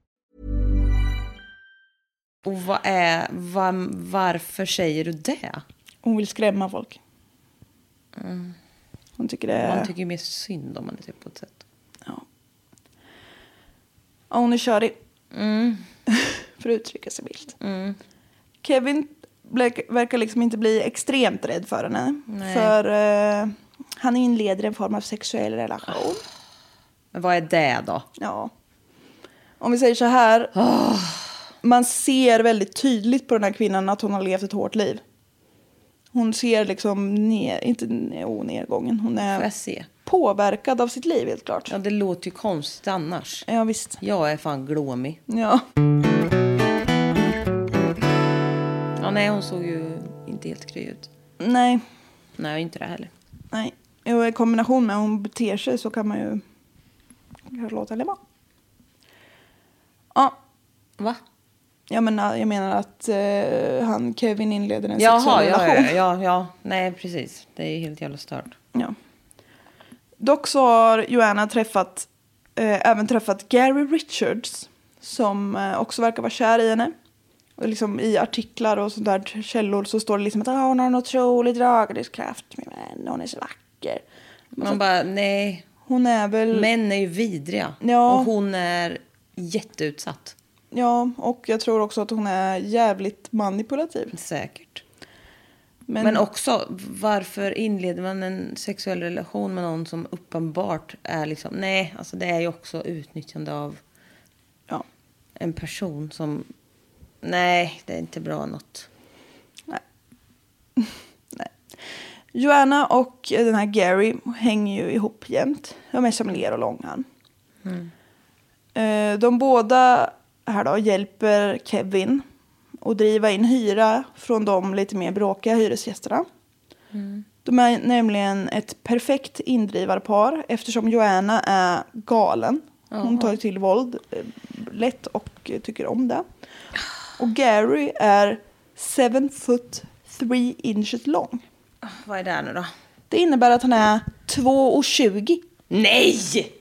Och vad är... Var, varför säger du det?
Hon vill skrämma folk.
Mm.
Hon tycker det
Man
är...
tycker ju mer synd om man är typ på ett sätt.
Ja. ja, hon är körig.
Mm.
För att uttrycka sig milt. Kevin blek- verkar liksom inte bli extremt rädd för henne. För eh, han inleder en form av sexuell relation.
Men vad är det då?
Ja. Om vi säger så här.
Ah.
Man ser väldigt tydligt på den här kvinnan att hon har levt ett hårt liv. Hon ser liksom ner, inte ner- oh, nedgången. Hon
Får
är
jag se?
påverkad av sitt liv helt klart.
Ja, det låter ju konstigt annars.
Ja visst.
Jag är fan glåmig.
Ja.
Ja, nej, hon såg ju inte helt kry ut.
Nej.
Nej, inte det heller.
Nej. Jo, I kombination med hur hon beter sig så kan man ju kanske låta henne vara. Ja.
Va?
Jag menar, jag menar att eh, han Kevin inleder en
Jaha,
sexuell
ja,
relation.
ja, ja, ja. Nej, precis. Det är ju helt jävla stört.
Ja. Dock så har Joanna träffat, eh, även träffat Gary Richards som eh, också verkar vara kär i henne. Och liksom I artiklar och sånt där källor så står det liksom att ah, hon har en otrolig dragningskraft min vän, hon är så vacker.
Man bara, nej.
Hon är väl,
Män är ju vidriga.
Mm. Ja.
Och hon är jätteutsatt.
ja, och jag tror också att hon är jävligt manipulativ.
Säkert.
Men,
Men, också, varför inleder man en sexuell relation med någon som uppenbart är liksom... Nej, alltså det är ju också utnyttjande av
ja,
en person som... Nej, det är inte bra något.
Joanna och eh, den här Gary hänger ju ihop jämt. De är som ler och långan. Eh, De båda här då hjälper Kevin att driva in hyra från de lite mer bråkiga hyresgästerna. De är nämligen ett perfekt indrivarpar eftersom Joanna är galen. Hon tar ju till våld eh, lätt och eh, tycker om det. Och Gary är 7 foot 3 inches lång.
Vad är det här nu då?
Det innebär att han är 2,20.
Nej!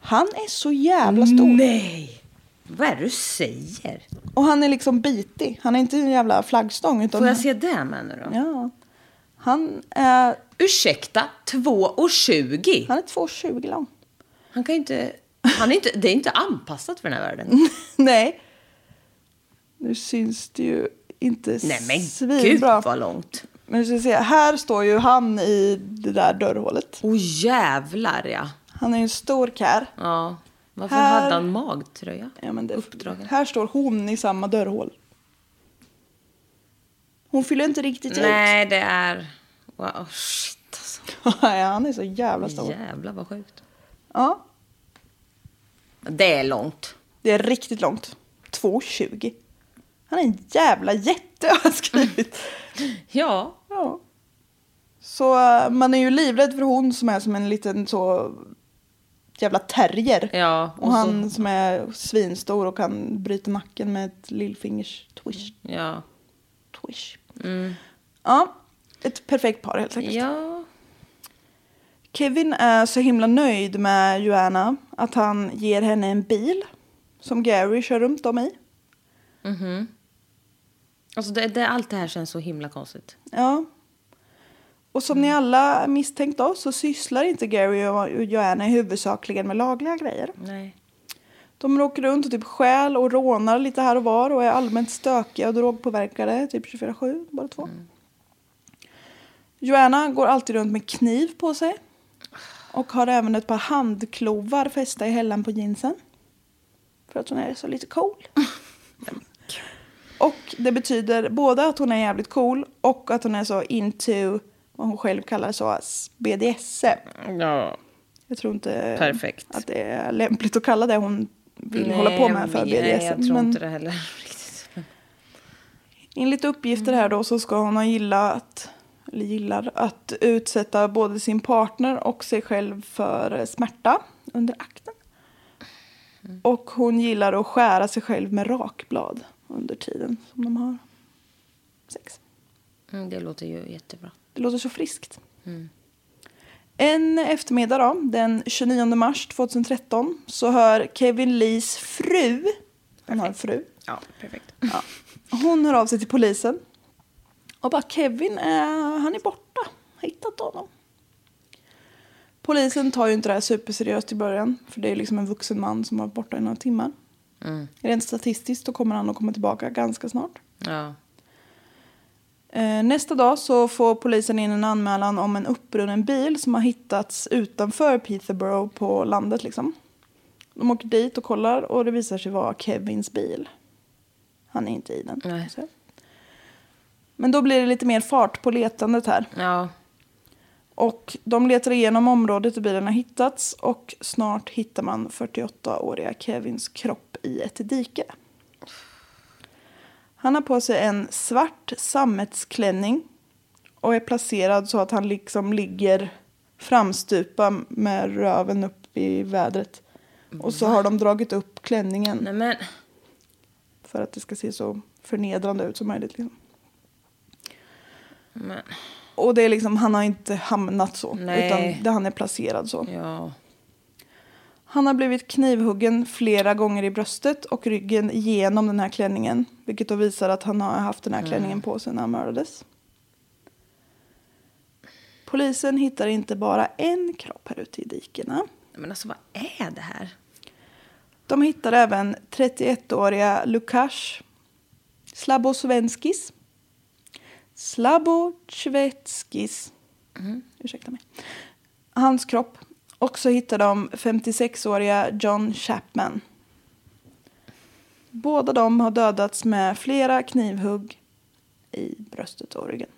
Han är så jävla stor.
Nej! Vad är det du säger?
Och han är liksom bitig. Han är inte en jävla flaggstång. Utan
Får jag se det med nu då?
Ja. Han är,
Ursäkta, 2,20?
han är 2,20 lång.
Han kan ju inte... Han är inte... Det är inte anpassat för den här världen.
Mm. Nej. Nu syns det ju inte
Nej men gud
svinbra.
vad långt.
Men vi ska se, här står ju han i det där dörrhålet.
Åh jävlar ja.
Han är ju en stor kär.
ja. Varför
Här-
hade han magtröja?
Ja, men det,
Uppdragen.
här står hon i samma dörrhål. Hon fyller inte riktigt
Nej det är... Wow, shit alltså.
ut. Nej, han är så jävla stor.
Jävlar vad sjukt.
Ja,
Det är långt.
det är riktigt långt. 2,20. Han är en jävla jätte har jag skrivit.
Ja.
Ja. Så eh, man är ju livrädd för hon som är som en liten så jävla terrier.
Ja,
och
och så-
han som är svinstor och kan bryta nacken med ett lillfingers twish.
Ja.
twish.
Mm.
Ja, ett perfekt par helt enkelt.
Ja.
Kevin är så himla nöjd med Joanna att han ger henne en bil som Gary kör runt om i.
Alltså det, det, allt det här känns så himla konstigt.
Ja. Och som ni alla misstänkt då så sysslar inte Gary och Joanna huvudsakligen med lagliga grejer.
Nej.
De åker runt och typ stjäl och rånar lite här och var och är allmänt stökiga och drogpåverkade, typ 24-7, bara två. Joanna går alltid runt med kniv på sig och har även ett par handklovar fästa i hällan på jeansen. För att hon är så lite cool. och det betyder både att hon är jävligt cool och att hon är så into vad hon själv kallar så BDSM.
Ja.
Jag tror inte
Perfekt.
att det är lämpligt att kalla det hon vill hålla på med för BDSM.
Nej, jag tror
men
inte det heller riktigt.
enligt uppgifter här då så ska hon ha gillat, eller gillar, att utsätta både sin partner och sig själv för smärta under akten.
Mm.
Och hon gillar att skära sig själv med rakblad under tiden som de har sex.
Mm, det låter ju jättebra.
Det låter så friskt. En eftermiddag då, den 29 mars 2013 så hör Kevin Lees fru, han har en fru,
Ja, perfekt.
ja. hon hör av sig till polisen och bara Kevin, eh, han är borta, har hittat honom. Polisen tar ju inte det här superseriöst i början för det är liksom en vuxen man som har varit borta i några timmar. Rent statistiskt så kommer han att komma tillbaka ganska snart.
Ja.
Eh, Nästa dag så får polisen in en anmälan om en uppbrunnen bil som har hittats utanför Peterborough på landet. Liksom. De åker dit och kollar och det visar sig vara Kevins bil. Han är inte i den.
Nej.
Så. Men då blir det lite mer fart på letandet här.
Ja.
Och de letar igenom området där bilen har hittats och snart hittar man 48-åriga Kevins kropp i ett dike. Han har på sig en svart sammetsklänning och är placerad så att han liksom ligger framstupa med röven upp i vädret. Och så har de dragit upp klänningen
Nej men.
för att det ska se så förnedrande ut som möjligt. Liksom.
men.
Och det är liksom, han har inte hamnat så,
Nej.
utan det, han är placerad så.
Ja.
Han har blivit knivhuggen flera gånger i bröstet och ryggen genom den här klänningen. Vilket då visar att han har haft den här klänningen på sig när han mördades. Polisen hittar inte bara en kropp här ute i dikena.
Nej, Men alltså vad är det här?
De hittar även 31-åriga Lukasz Slabosvenskis. Slabocvetskis. Ursäkta mig. Hans kropp. Och så hittar de 56-åriga John Chapman. Båda de har dödats med flera knivhugg i bröstet och ryggen.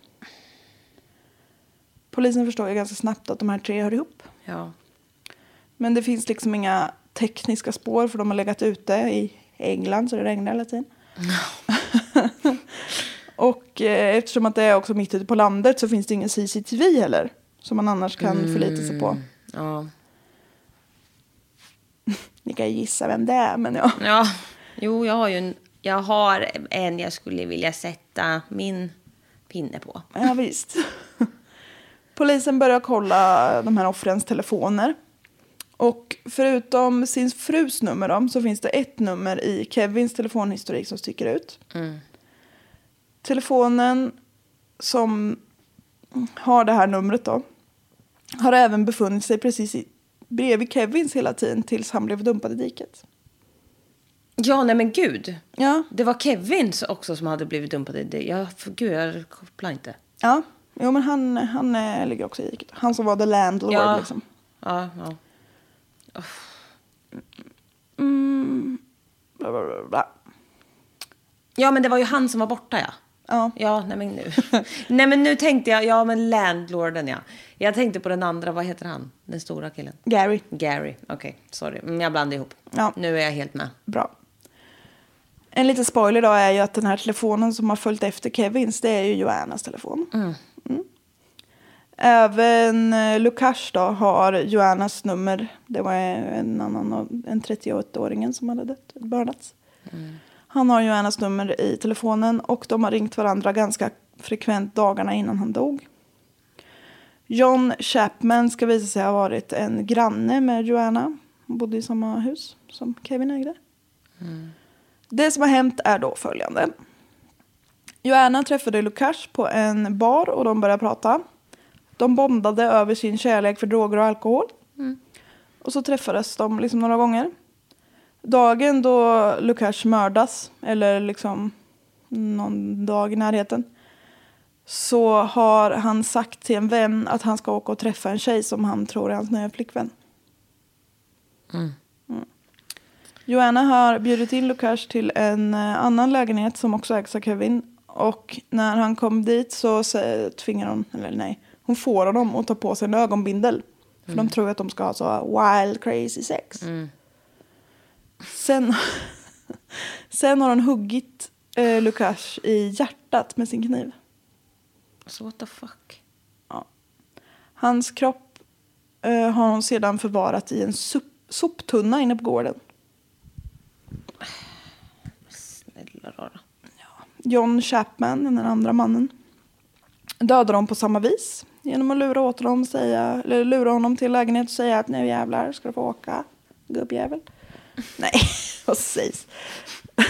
Polisen förstår ju ganska snabbt att de här tre hör ihop.
Ja.
Men det finns liksom inga tekniska spår för de har legat ute i England så det regnar hela tiden. och eh, eftersom att det är också mitt ute på landet så finns det ingen CCTV heller. Som man annars kan förlita sig
Mm.
på.
Ja.
Ni kan ju gissa vem det är men ja.
Ja. Jo, jag har ju en. Jag har en jag skulle vilja sätta min pinne på.
Ja visst. Polisen börjar kolla de här offrens telefoner. Och förutom sin frus nummer då, så finns det ett nummer i Kevins telefonhistorik som sticker ut. Telefonen som har det här numret då har även befunnit sig precis i, bredvid Kevins hela tiden tills han blev dumpad i diket.
Ja, nej men gud.
Ja,
Det var Kevins också som hade blivit dumpad i det. Jag, för, gud, jag kopplar inte.
ja. Jo, men han, han eh, ligger också i diket. Han som var the landlord
Ja.
liksom.
Ja, ja.
Bla, bla, bla, bla.
ja, men det var ju han som var borta, ja.
Ja.
Ja, nej men nu. nej men nu tänkte jag, ja men landlorden ja. Jag tänkte på den andra, vad heter han? Den stora killen.
Gary.
Gary, okej, sorry. Mm, jag blandade ihop.
Ja.
Nu är jag helt med.
Bra. En liten spoiler då är ju att den här telefonen som har följt efter Kevins, det är ju Joannas telefon. Mm. Även eh, Lukash då har Joannas nummer. Det var en annan, av- en 31-åringen som hade dött, bördats. Han har Joannas nummer i telefonen och de har ringt varandra ganska frekvent dagarna innan han dog. John Chapman ska visa sig ha varit en granne med Joanna. Hon bodde i samma hus som Kevin ägde. Det som har hänt är då följande. Joanna träffade Lukash på en bar och de började prata. De bondade över sin kärlek för droger och alkohol. Och så träffades de liksom några gånger. Dagen då Lukash mördas, eller liksom någon dag i närheten, så har han sagt till en vän att han ska åka och träffa en tjej som han tror är hans nya flickvän. Mm. Joanna har bjudit in Lukash till en eh, annan lägenhet som också ägs av Kevin. Och när han kom dit så sä- tvingar hon, eller nej, hon får honom att ta på sig en ögonbindel. För de tror att de ska ha så wild crazy sex. Sen, sen har hon huggit eh, Lukash i hjärtat med sin kniv.
Så Alltså, what the fuck?
Hans kropp eh, har hon sedan förvarat i en sop- soptunna inne på gården.
Snälla rara.
John Chapman, den andra mannen, dödar dem på samma vis. Genom att lura, åt honom, säga, eller lura honom till lägenhet och säga att nu jävlar ska du få åka, gubbjävel. Nej, vad sägs?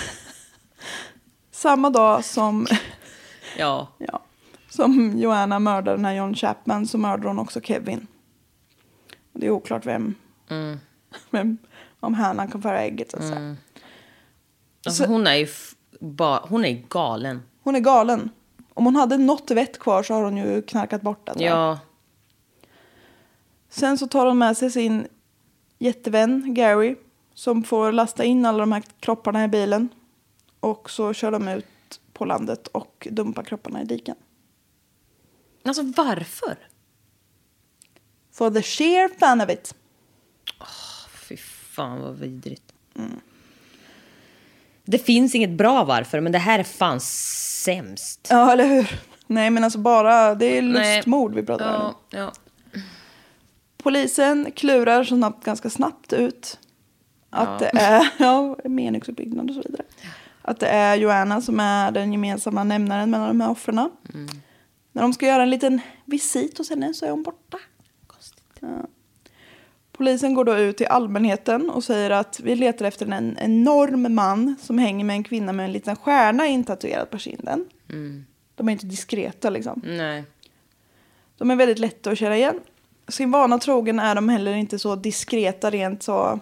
samma dag som,
Ja.
ja, som Joanna mördar den här John Chapman så mördar hon också Kevin. Och Det är oklart vem, vem om hönan kan föra ägget så att säga.
Alltså, hon är ju f- ba- hon är galen.
Hon är galen. Om hon hade något vett kvar så har hon ju knarkat bort det. tror jag.
Ja.
Sen så tar hon med sig sin jättevän Gary som får lasta in alla de här kropparna i bilen. Och så kör de ut på landet och dumpar kropparna i diken.
Alltså varför?
For the sheer fun of it.
Fy fan vad vidrigt. Mm. Det finns inget bra varför, men det här är fan sämst.
Ja, eller hur? Nej, men alltså bara, det är lustmord vi pratar om. nu.
ja, ja.
Polisen klurar så snabbt, ganska snabbt ut att det är ja, meningsuppbyggnad och så vidare. Att det är Joanna som är den gemensamma nämnaren mellan de här offren. När de ska göra en liten visit hos henne så är hon borta. Ja. Polisen går då ut till allmänheten och säger att vi letar efter en enorm man som hänger med en kvinna med en liten stjärna intatuerad på kinden. De är inte diskreta liksom.
Nej.
De är väldigt lätta att köra igen. Sin vana trogen är de heller inte så diskreta rent så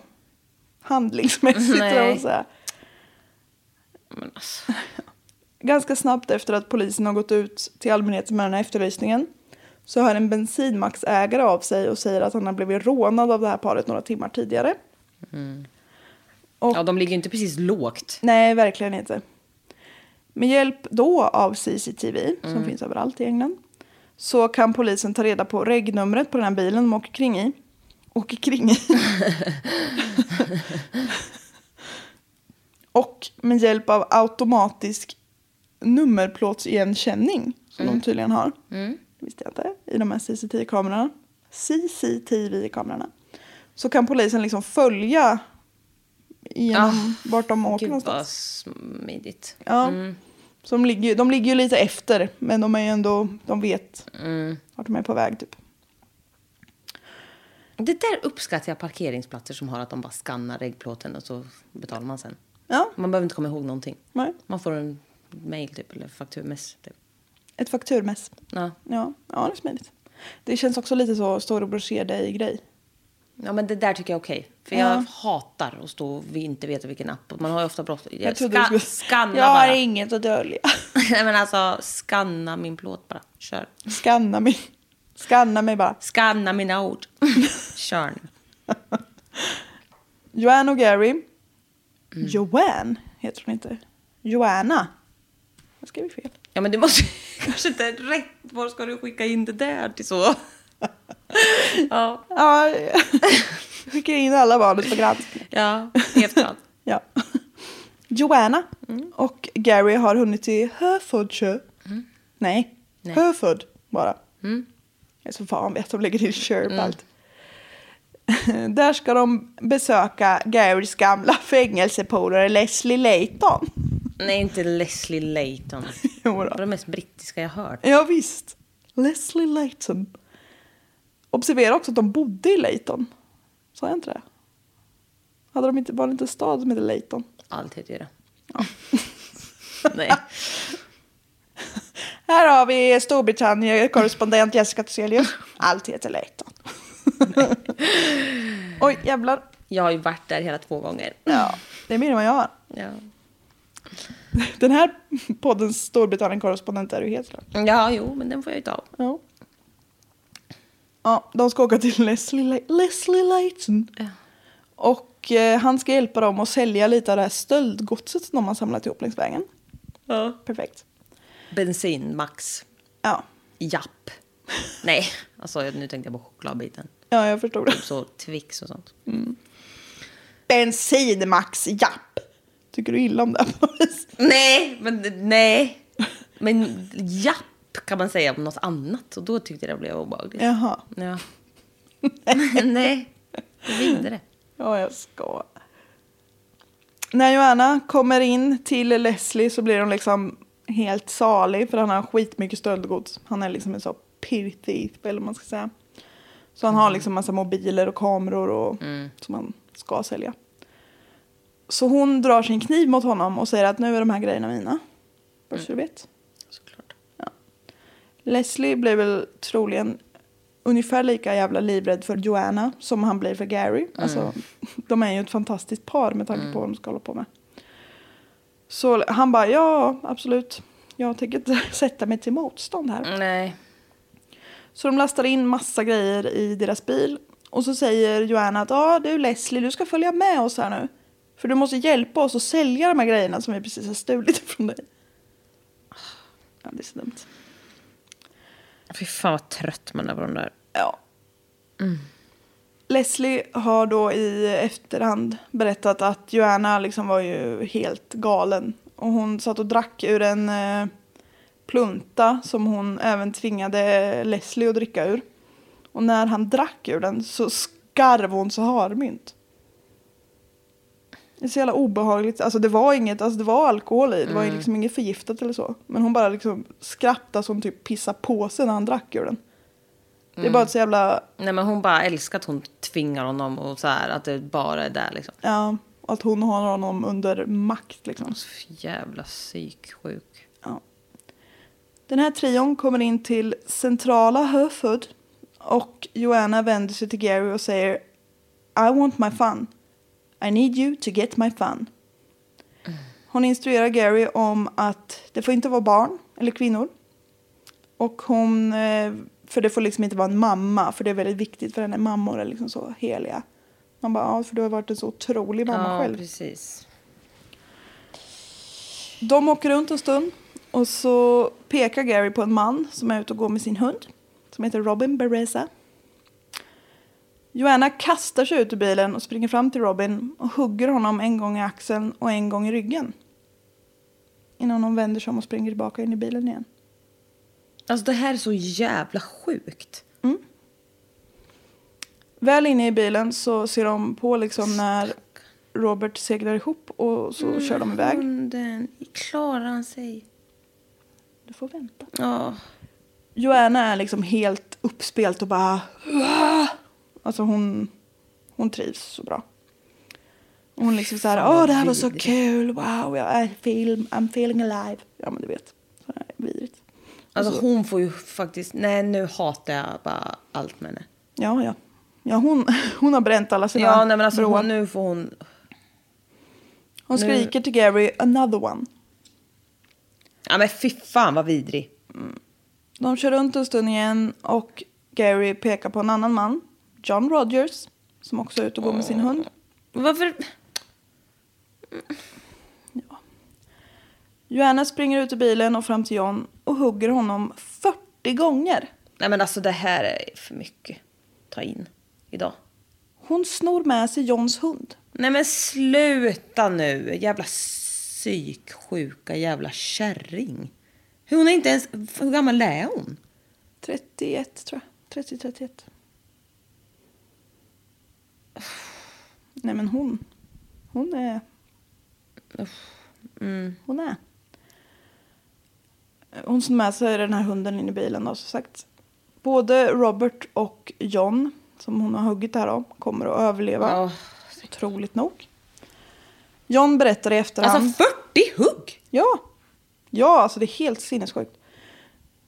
handlingsmässigt.
Nej.
Nej. Säga. Ganska snabbt efter att polisen har gått ut till allmänheten med den här efterlysningen så hör en bensinmacksägare av sig och säger att han har blivit rånad av det här paret några timmar tidigare.
Ja, de ligger ju inte precis lågt.
Nej, verkligen inte. Med hjälp då av CCTV, som finns överallt i England, så kan polisen ta reda på regnumret på den här bilen de åker kring i. Åker kring i. Och med hjälp av automatisk nummerplåtsigenkänning, som de tydligen har, det visste jag inte, i de här CCTV-kamerorna, CCTV-kamerorna, så kan polisen liksom följa genom vart de åker
Gud
någonstans.
vad mm. smidigt.
Ja. Så de, ligger, ju- de ligger ju lite efter, men
Mm.
de är ju ändå, de vet vart de är på väg typ.
Det där uppskattar jag parkeringsplatser som har att de bara skannar regplåten och så betalar man sen.
Ja,
Man behöver inte komma ihåg någonting.
nej.
Man får en mail typ eller fakturmess. Typ.
Ett fakturmäss.
Ja.
Ja, ja, det är smidigt. Det känns också lite så storebror ser dig-grej.
ja, men det där tycker jag är okej. För jag hatar att stå och vi inte vet vilken app. Man har ju ofta bråttom. Jag
trodde du
ska,
skulle-
skanna
Jag har
bara.
inget att dölja.
Nej men alltså, skanna min plåt bara. Kör.
Skanna mig. Skanna mig bara.
Skanna mina ord. Kör nu.
Joanne och Gary.
Mm.
Joanne heter hon inte. Joanna. Jag skrev fel.
Ja men du måste kanske inte rätt. Var ska du skicka in det där till så? ja.
Ja, jag skickar in alla manus på granskning.
Ja, helt klart.
Ja. Joanna och Gary har hunnit till Herefordshire. Nej, Hereford bara. Jag är så van vid att de lägger till Shire på allt. Där ska de besöka Garys gamla fängelsepolare Leslie Layton.
Nej, inte Leslie Layton.
Jo
Det
då.
var det mest brittiska jag hört.
Ja, visst. Leslie Layton. Observera också att de bodde i Layton. Sa jag inte det? Hade de inte, var det inte en stad som hette Layton?
Allt heter ju det. Nej.
Här har vi Storbritannien-korrespondent Jessica Thyselius. Allt heter Layton. Oj, jävlar.
Jag har ju varit där hela två gånger.
Ja, det är mer än vad jag har.
Ja,
Den här poddens Storbritannien-korrespondent är du helt klart.
ja jo, men den får jag ju ta.
Ja. ja, de ska åka till Leslie, Le- Leslie Layton. Och eh, han ska hjälpa dem att sälja lite av det här stöldgodset som de har samlat ihop längs vägen.
Ja.
Perfekt.
Bensin, Max.
Ja,
Japp. Nej, alltså nu tänkte jag på chokladbiten. Typ
ja jag förstod det.
Så Twix och sånt.
Bensinmax, japp! Tycker du illa om det här på något vis?
Nej, men nej. Men japp kan man säga om något annat. Och då tyckte jag det blev obehagligt.
Jaha.
Ja. nej, det vinner det.
Ja, jag ska. När Joanna kommer in till Leslie så blir hon liksom helt salig för han har skitmycket stöldgods. Han är liksom en sån pirr thief, eller vad man ska säga. Så han har liksom massa mobiler och kameror och, som han ska sälja. Så hon drar sin kniv mot honom och säger att nu är de här grejerna mina. Bara så du vet.
Såklart.
Leslie blir väl troligen ungefär lika jävla livrädd för Joanna som han blir för Gary. Alltså, de är ju ett fantastiskt par med tanke på vad de ska hålla på med. Så han bara, ja absolut, jag tänker inte sätta mig till motstånd här.
Nej.
Så de lastar in massa grejer i deras bil. Och så säger Joanna att, ja ah, du Leslie, du ska följa med oss här nu. För du måste hjälpa oss att sälja de här grejerna som vi precis har stulit från dig. Ja, det är så dumt.
Fy fan vad trött man är på de där.
Ja. Leslie har då i efterhand berättat att Joanna liksom var ju helt galen. Och hon satt och drack ur en eh, plunta som hon även tvingade Leslie att dricka ur. Och när han drack ur den så skarv hon så harmynt. Det är så jävla obehagligt. Alltså det var inget, alltså det var alkohol i. Det var liksom inget förgiftat eller så. Men hon bara liksom skrattade som typ pissade på sig när han drack ur den. Det är bara ett så jävla
Nej men hon bara älskar att hon tvingar honom och så här att det bara är där liksom.
Ja, att hon har honom under makt liksom.
Så jävla psyksjuk.
Ja. Den här trion kommer in till centrala Hereford och Joanna vänder sig till Gary och säger I want my fun. I need you to get my fun. Hon instruerar Gary om att det får inte vara barn eller kvinnor. Och hon, eh, för det får liksom inte vara en mamma, för det är väldigt viktigt för henne. Mammor är liksom så heliga. Man bara, ja, för du har varit en så otrolig mamma
ja,
själv.
precis.
De åker runt en stund och så pekar Gary på en man som är ute och går med sin hund som heter Robin Bereza. Joanna kastar sig ut ur bilen och springer fram till Robin och hugger honom en gång i axeln och en gång i ryggen. Innan hon vänder sig om och springer tillbaka in i bilen igen.
Alltså det här är så jävla sjukt.
Väl inne i bilen så ser de på liksom när Robert seglar ihop och så kör de
Mm.
iväg.
Hunden, klarar han sig?
Du får vänta.
Ja.
Joanna är liksom helt uppspelt och bara "Uah!" Alltså hon, hon trivs så bra. Och Hon liksom så här, åh det här var så kul, wow, jag, I feel, I'm feeling alive. Ja men du vet, så här vidrigt.
Alltså hon får ju faktiskt, nej nu hatar jag bara allt med henne.
Ja, ja. Ja, hon, hon har bränt alla sina
Ja, nej men alltså
broar.
hon, nu får hon,
Hon skriker till Gary, another one.
ja men fy fan vad vidrig.
De kör runt en stund igen och Gary pekar på en annan man, John Rogers, som också är ute och går med sin hund.
Varför?
Joanna springer ut ur bilen och fram till John och hugger honom 40 gånger.
Nej men alltså det här är för mycket. Ta in idag.
Hon snor med sig Johns hund.
Nej men sluta nu, jävla psyksjuka jävla kärring. Hur Hon är inte ens, hur gammal är hon?
31 tror jag. 30-31. Nej men hon. Hon är...
Mm.
Hon är. Hon som med sig den här hunden in i bilen då, som sagt. Både Robert och John, som hon har huggit här om, kommer att överleva.
Ja.
Otroligt nog. John berättar i efterhand.
Alltså 40 hugg!
Ja. Ja, alltså det är helt sinnessjukt.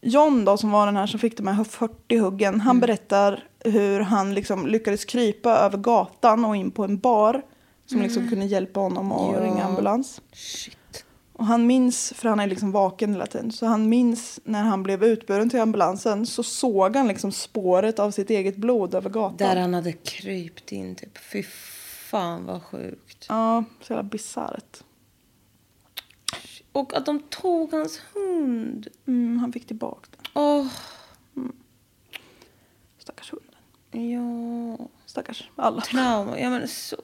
John då, som var den här som fick de här 40 huggen,
Mm.
han berättar hur han liksom lyckades krypa över gatan och in på en bar som
Mm.
liksom kunde hjälpa honom att ringa ambulans.
Shit.
Och han minns, för han är liksom vaken hela tiden, så han minns när han blev utburen till ambulansen så såg han liksom spåret av sitt eget blod över gatan.
Där han hade krypt in typ. Fy fan vad sjukt.
Ja, så jävla bisarrt.
Och att de tog hans hund.
Mm, han fick tillbaka den.
Åh,
Stackars hunden.
ja.
Stackars alla.
Trauma. Ja men så.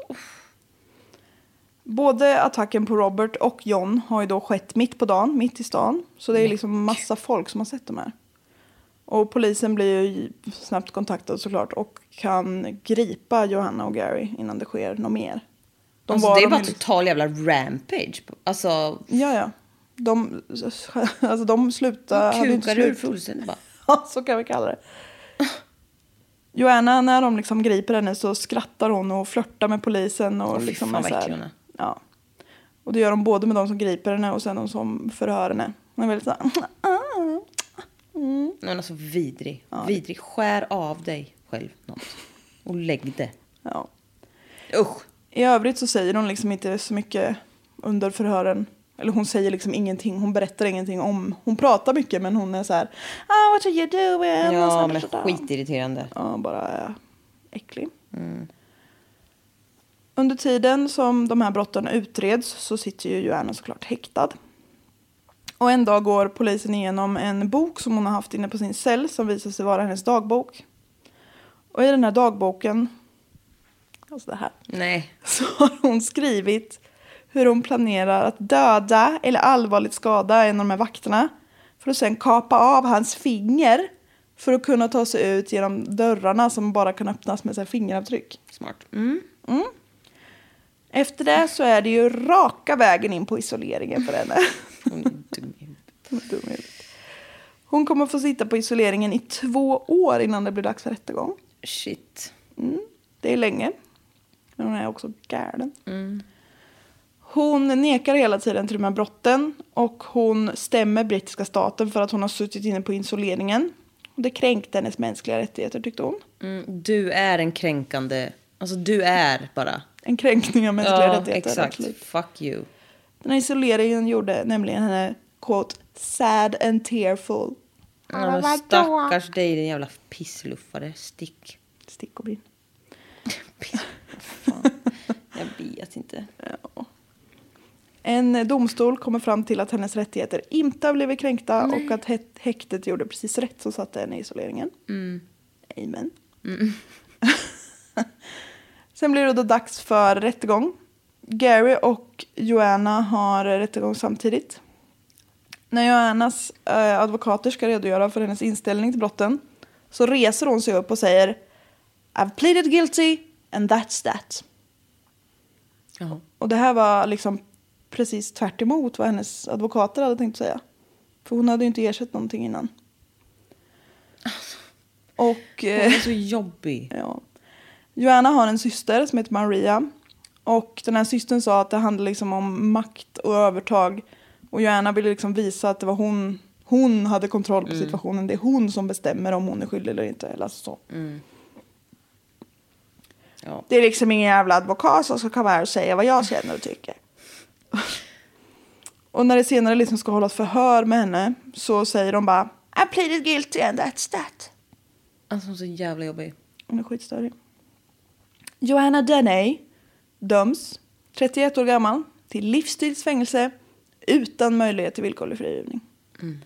Både attacken på Robert och John har ju då skett mitt på dagen, mitt i stan. Så det är liksom massa folk som har sett de här. Och polisen blir ju snabbt kontaktad såklart och kan gripa Johanna och Gary innan det sker något mer. De
alltså, det är
de
bara
ju liksom-
total jävla rampage. Alltså.
Ja, ja. De, alltså de slutade... hade ju inte
Kukar ur
slut.
fullständigt bara.
Ja, så kan vi kalla det. Joanna, när de liksom griper henne så skrattar hon och flörtar med polisen. Och
Åh, fy
liksom
fan,
är
vad
så här-
äcklig hon är.
Ja. Och det gör de både med de som griper henne och sen de som förhör henne. Hon är väldigt så här,
Nej men alltså vidrig. Vidrig. Skär av dig själv något. Och lägg det.
ja.
Usch.
I övrigt så säger hon liksom inte så mycket under förhören. Eller hon säger liksom ingenting, hon berättar ingenting om... Hon pratar mycket men hon är så här... Ah, what are you doing? Och så
Ja
här,
men alltså,
så där.
skitirriterande.
Ja, bara är äcklig. Under tiden som de här brotten utreds så sitter ju Joanna såklart häktad. Och en dag går polisen igenom en bok som hon har haft inne på sin cell som visar sig vara hennes dagbok. Och i den här dagboken, alltså det här,
Nej.
så har hon skrivit hur hon planerar att döda eller allvarligt skada en av de här vakterna för att sen kapa av hans finger för att kunna ta sig ut genom dörrarna som bara kan öppnas med så här fingeravtryck.
Smart. Mm.
Efter det så är det ju raka vägen in på isoleringen för henne.
Hon är dum i huvudet.
Hon är dum i huvudet. Hon kommer få sitta på isoleringen i två år innan det blir dags för rättegång.
Shit.
Mm, Det är länge. Men hon är också galen. Hon nekar hela tiden till de här brotten och hon stämmer brittiska staten för att hon har suttit inne på isoleringen. Och Det kränkte hennes mänskliga rättigheter tyckte hon.
Mm, du är en kränkande... Alltså du är bara...
En kränkning av mänskliga rättigheter.
exakt.
absolut.
Fuck you.
Den här isoleringen gjorde nämligen henne quote, sad and tearful.
Ja, men stackars dig din jävla pissluffare. Stick.
Stick och brinn.
Piss. Fan. Jag vet inte.
En domstol kommer fram till att hennes rättigheter inte har blivit kränkta och att hä- häktet gjorde precis rätt som satte henne i isoleringen. Amen. Sen blir det då dags för rättegång. Gary och Joanna har rättegång samtidigt. När Joannas eh, advokater ska redogöra för hennes inställning till brotten så reser hon sig upp och säger I've pleaded guilty and that's that.
Jaha.
Och det här var liksom precis tvärt emot vad hennes advokater hade tänkt säga. För hon hade ju inte erkänt någonting innan. Och...
Hon
Eh,
är så jobbig.
ja. Joanna har en syster som heter Maria. Och den här systern sa att det handlar liksom om makt och övertag. Och Joanna ville liksom visa att det var hon, hon hade kontroll på situationen. Det är hon som bestämmer om hon är skyldig eller inte. Eller alltså så.
Ja.
Det är liksom ingen jävla advokat som ska komma här och säga vad jag känner och tycker. och när det senare liksom ska hållas förhör med henne så säger de bara I pleaded guilty and that's that.
Alltså hon är så jävla jobbig.
Hon är skitstörig. Johanna Denney döms, 31 år gammal, till livstidsfängelse utan möjlighet till villkorlig frigivning.
Mm.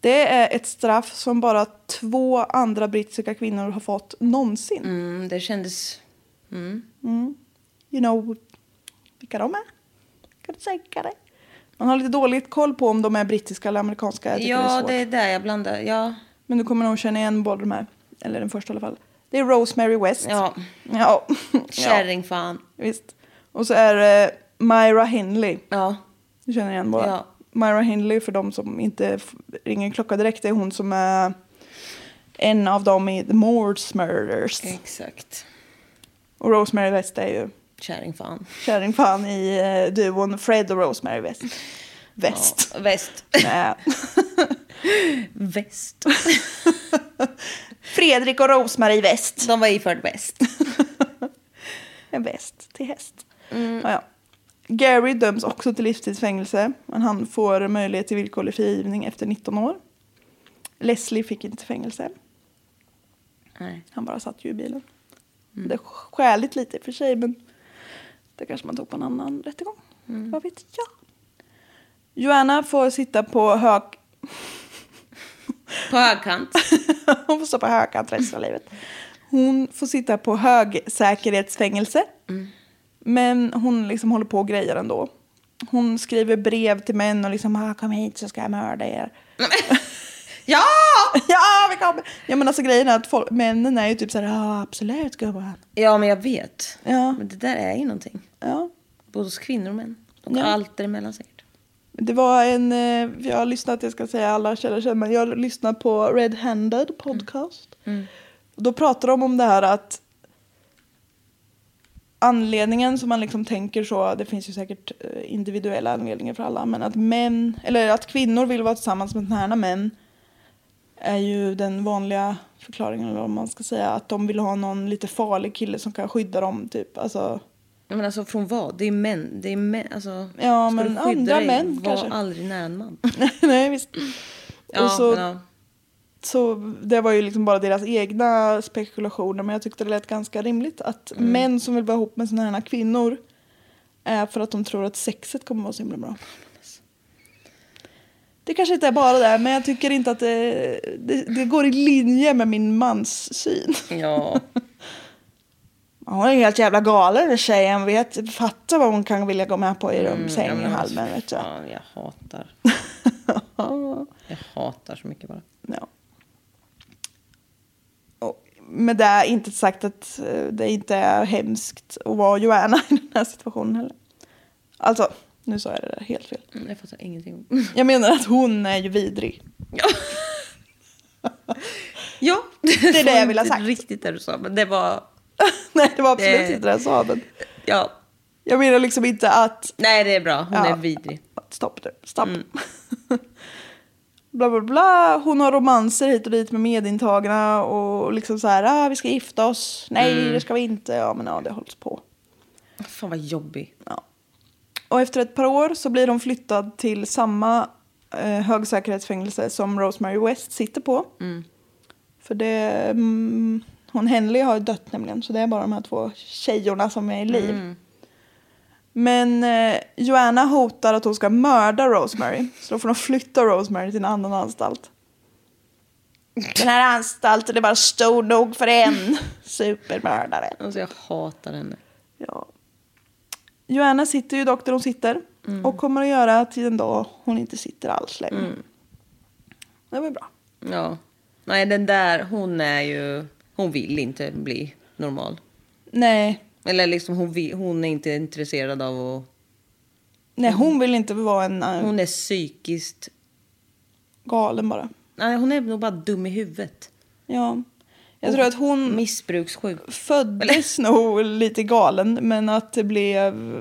Det är ett straff som bara två andra brittiska kvinnor har fått någonsin.
Mm, det kändes...
You know vilka de är? Kan du tänka dig? Man har lite dåligt koll på om de är brittiska eller amerikanska. Jag tycker det är
Ja,
svårt.
det är där jag blandar. Ja.
Men du kommer nog känna igen båda de här. Eller den första i alla fall. Det är Rosemary West.
Ja.
Ja. ja.
Kärring fan.
Visst. Och så är det Myra Hindley.
Ja.
Du känner igen båda?
Ja.
Myra Hindley, för de som inte f- ringer en klocka direkt, det är hon som är en av dem i The Moors Murders.
Exakt.
Och Rosemary West är ju
Kärring fan.
kärring fan i eh, duon Fred och Rosemary West. West.
Ja. Väst.
Nej.
Väst.
Fredrik och Rosmarie West.
De var iförd väst.
En väst till häst. Ja, ja. Gary döms också till livstidsfängelse, men han får möjlighet till villkorlig frigivning efter 19 år. Leslie fick inte fängelse.
Nej.
Han bara satt ju i bilen. Det är skäligt lite i och för sig, men det kanske man tog på en annan rättegång. Vad vet jag? Joanna får sitta på hög...
På högkant.
Hon får stå på högkant resten av livet. Hon får sitta på högsäkerhetsfängelse. Men hon liksom håller på och grejer ändå. Hon skriver brev till män och liksom ah, kom hit så ska jag mörda er.
Ja!
ja, vi kommer! Ja, men alltså grejen är att folk, männen är ju typ så här, ja absolut gumman.
Ja, men jag vet.
Ja.
Men det där är ju någonting.
Ja,
Både hos kvinnor och män. De har
Ja.
allt däremellan säkert.
Det var en, eh, jag har lyssnat, jag ska säga alla källor sen, men jag har lyssnat på Red
Mm.
Handed podcast. Då pratar de om det här att anledningen som man liksom tänker så, det finns ju säkert eh, individuella anledningar för alla, men att män, eller att kvinnor vill vara tillsammans med sådana män är ju den vanliga förklaringen, eller om man ska säga, att de vill ha någon lite farlig kille som kan skydda dem, typ. Alltså,
Men alltså från vad? Det är män. Det är män. Alltså,
Ja,
ska
men
du skydda
andra
dig?
män
Var
kanske.
aldrig nära en man.
nej visst.
Ja,
och så
men, ja.
Så det var ju liksom bara deras egna spekulationer men jag tyckte det lät ganska rimligt att män som vill vara ihop med sådana här kvinnor är för att de tror att sexet kommer vara så himla bra. Det kanske inte är bara det men jag tycker inte att det, det, det går i linje med min mans syn.
ja.
Hon är helt jävla galen den tjejen. Vet, fatta vad hon kan vilja gå med på i
Mm, ja,
rumssäng
men
i
alltså,
halmen. Vet jag.
Fan, jag hatar. Jag hatar så mycket bara.
Ja. Och med det är inte sagt att eh, det inte är hemskt att vara Joanna i den här situationen heller. Alltså, nu sa jag det där helt fel.
Mm, Jag fattar ingenting.
Jag menar att hon är ju vidrig.
Ja. ja.
det
var
jag ville ha
inte
sagt.
riktigt det du sa, men det var...
Nej, det var absolut
Det-
inte det jag sa. Men
Ja.
jag menar liksom inte att...
Nej, det är bra. Hon
Ja.
är vidrig. Mm.
Stopp nu, stopp. bla, bla, bla. Hon har romanser hit och dit med medintagna och liksom så här, ah, vi ska gifta oss. Nej,
Mm.
det ska vi inte. Ja, men ja, det hålls på.
Fan vad jobbig.
Och efter ett par år så blir hon flyttad till samma eh, högsäkerhetsfängelse som Rosemary West sitter på. För det... Mm, hon Henley har dött nämligen, så det är bara de här två tjejorna som är i liv. Men eh, Joanna hotar att hon ska mörda Rosemary, så då får de flytta Rosemary till en annan anstalt. Den här anstalten är bara stor nog för en supermördare.
Alltså jag hatar henne.
Ja. Joanna sitter ju dock där hon sitter
Mm.
och kommer att göra till en dag hon inte sitter alls längre. Det var bra.
Ja. Nej, den där, hon är ju... Hon vill inte bli normal.
Nej,
Eller liksom, hon, vill, hon är inte intresserad av att...
nej hon vill inte vara en eh,
Mm. Hon är psykiskt...
galen bara.
Nej, hon är nog bara dum i huvudet.
Ja. Jag tror att hon
Missbrukssjuk.
föddes nog lite galen men att det blev...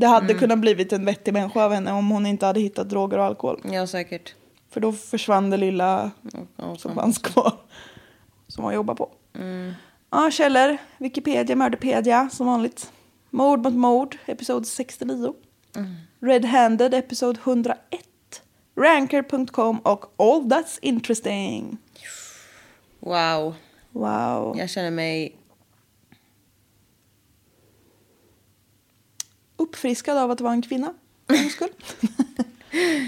Det hade
Mm.
kunnat blivit en vettig människa av henne om hon inte hade hittat droger och alkohol.
Ja, säkert.
För då försvann det lilla som fanns kvar. Som man jobbar på.
Mm.
Ja, källor. Wikipedia, Mörderpedia som vanligt. Mord mot mord, episod 69.
Mm.
Red-handed, episod 101. Ranker.com och All That's Interesting.
Wow.
Wow.
Jag känner mig...
Uppfriskad av att vara en kvinna. för en skull.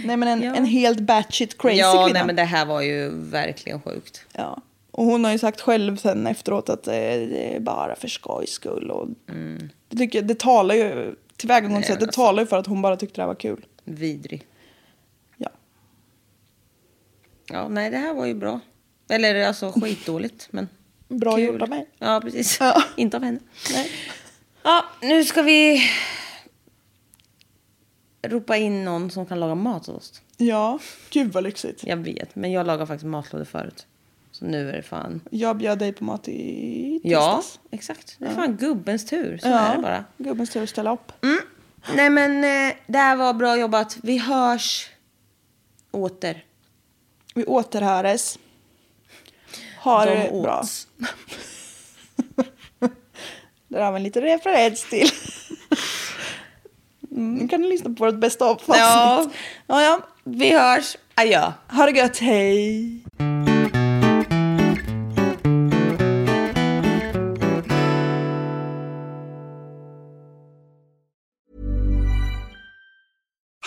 nej men en, en helt batshit crazy
ja,
kvinna.
nej men det här var ju verkligen sjukt.
Ja. Och hon har ju sagt själv sen efteråt att eh, det är bara för skojs skull. Och
Mm.
det, tycker, jag- det talar ju, tillvägagångssättet
alltså-
talar ju för att hon bara tyckte det här var kul.
Vidrig.
Ja.
Ja, nej det här var ju bra. Eller alltså skitdåligt, men...
Bra
kul.
gjort av mig.
Ja, precis.
Ja.
Inte av henne.
Nej.
Ja, nu ska vi... Ropa in någon som kan laga mat åt oss.
Ja, gud vad lyxigt.
Jag vet, men jag lagar faktiskt matlådor förut. Så nu är det fan...
Jag bjöd dig på mat i
Ja,
tisdags.
exakt. Det är fan gubbens tur. Så
Ja,
är det bara.
Gubbens tur att ställa upp.
Nej men eh, det här var bra jobbat. Vi hörs åter.
Vi återhöres. Ha
De
det bra.
åts.
Där har vi en liten referens till. Mm, Nu kan ni lyssna på vårt bästa avsnitt.
Ja.
ja, ja.
Vi hörs. Adjö.
Ha det gött, hej!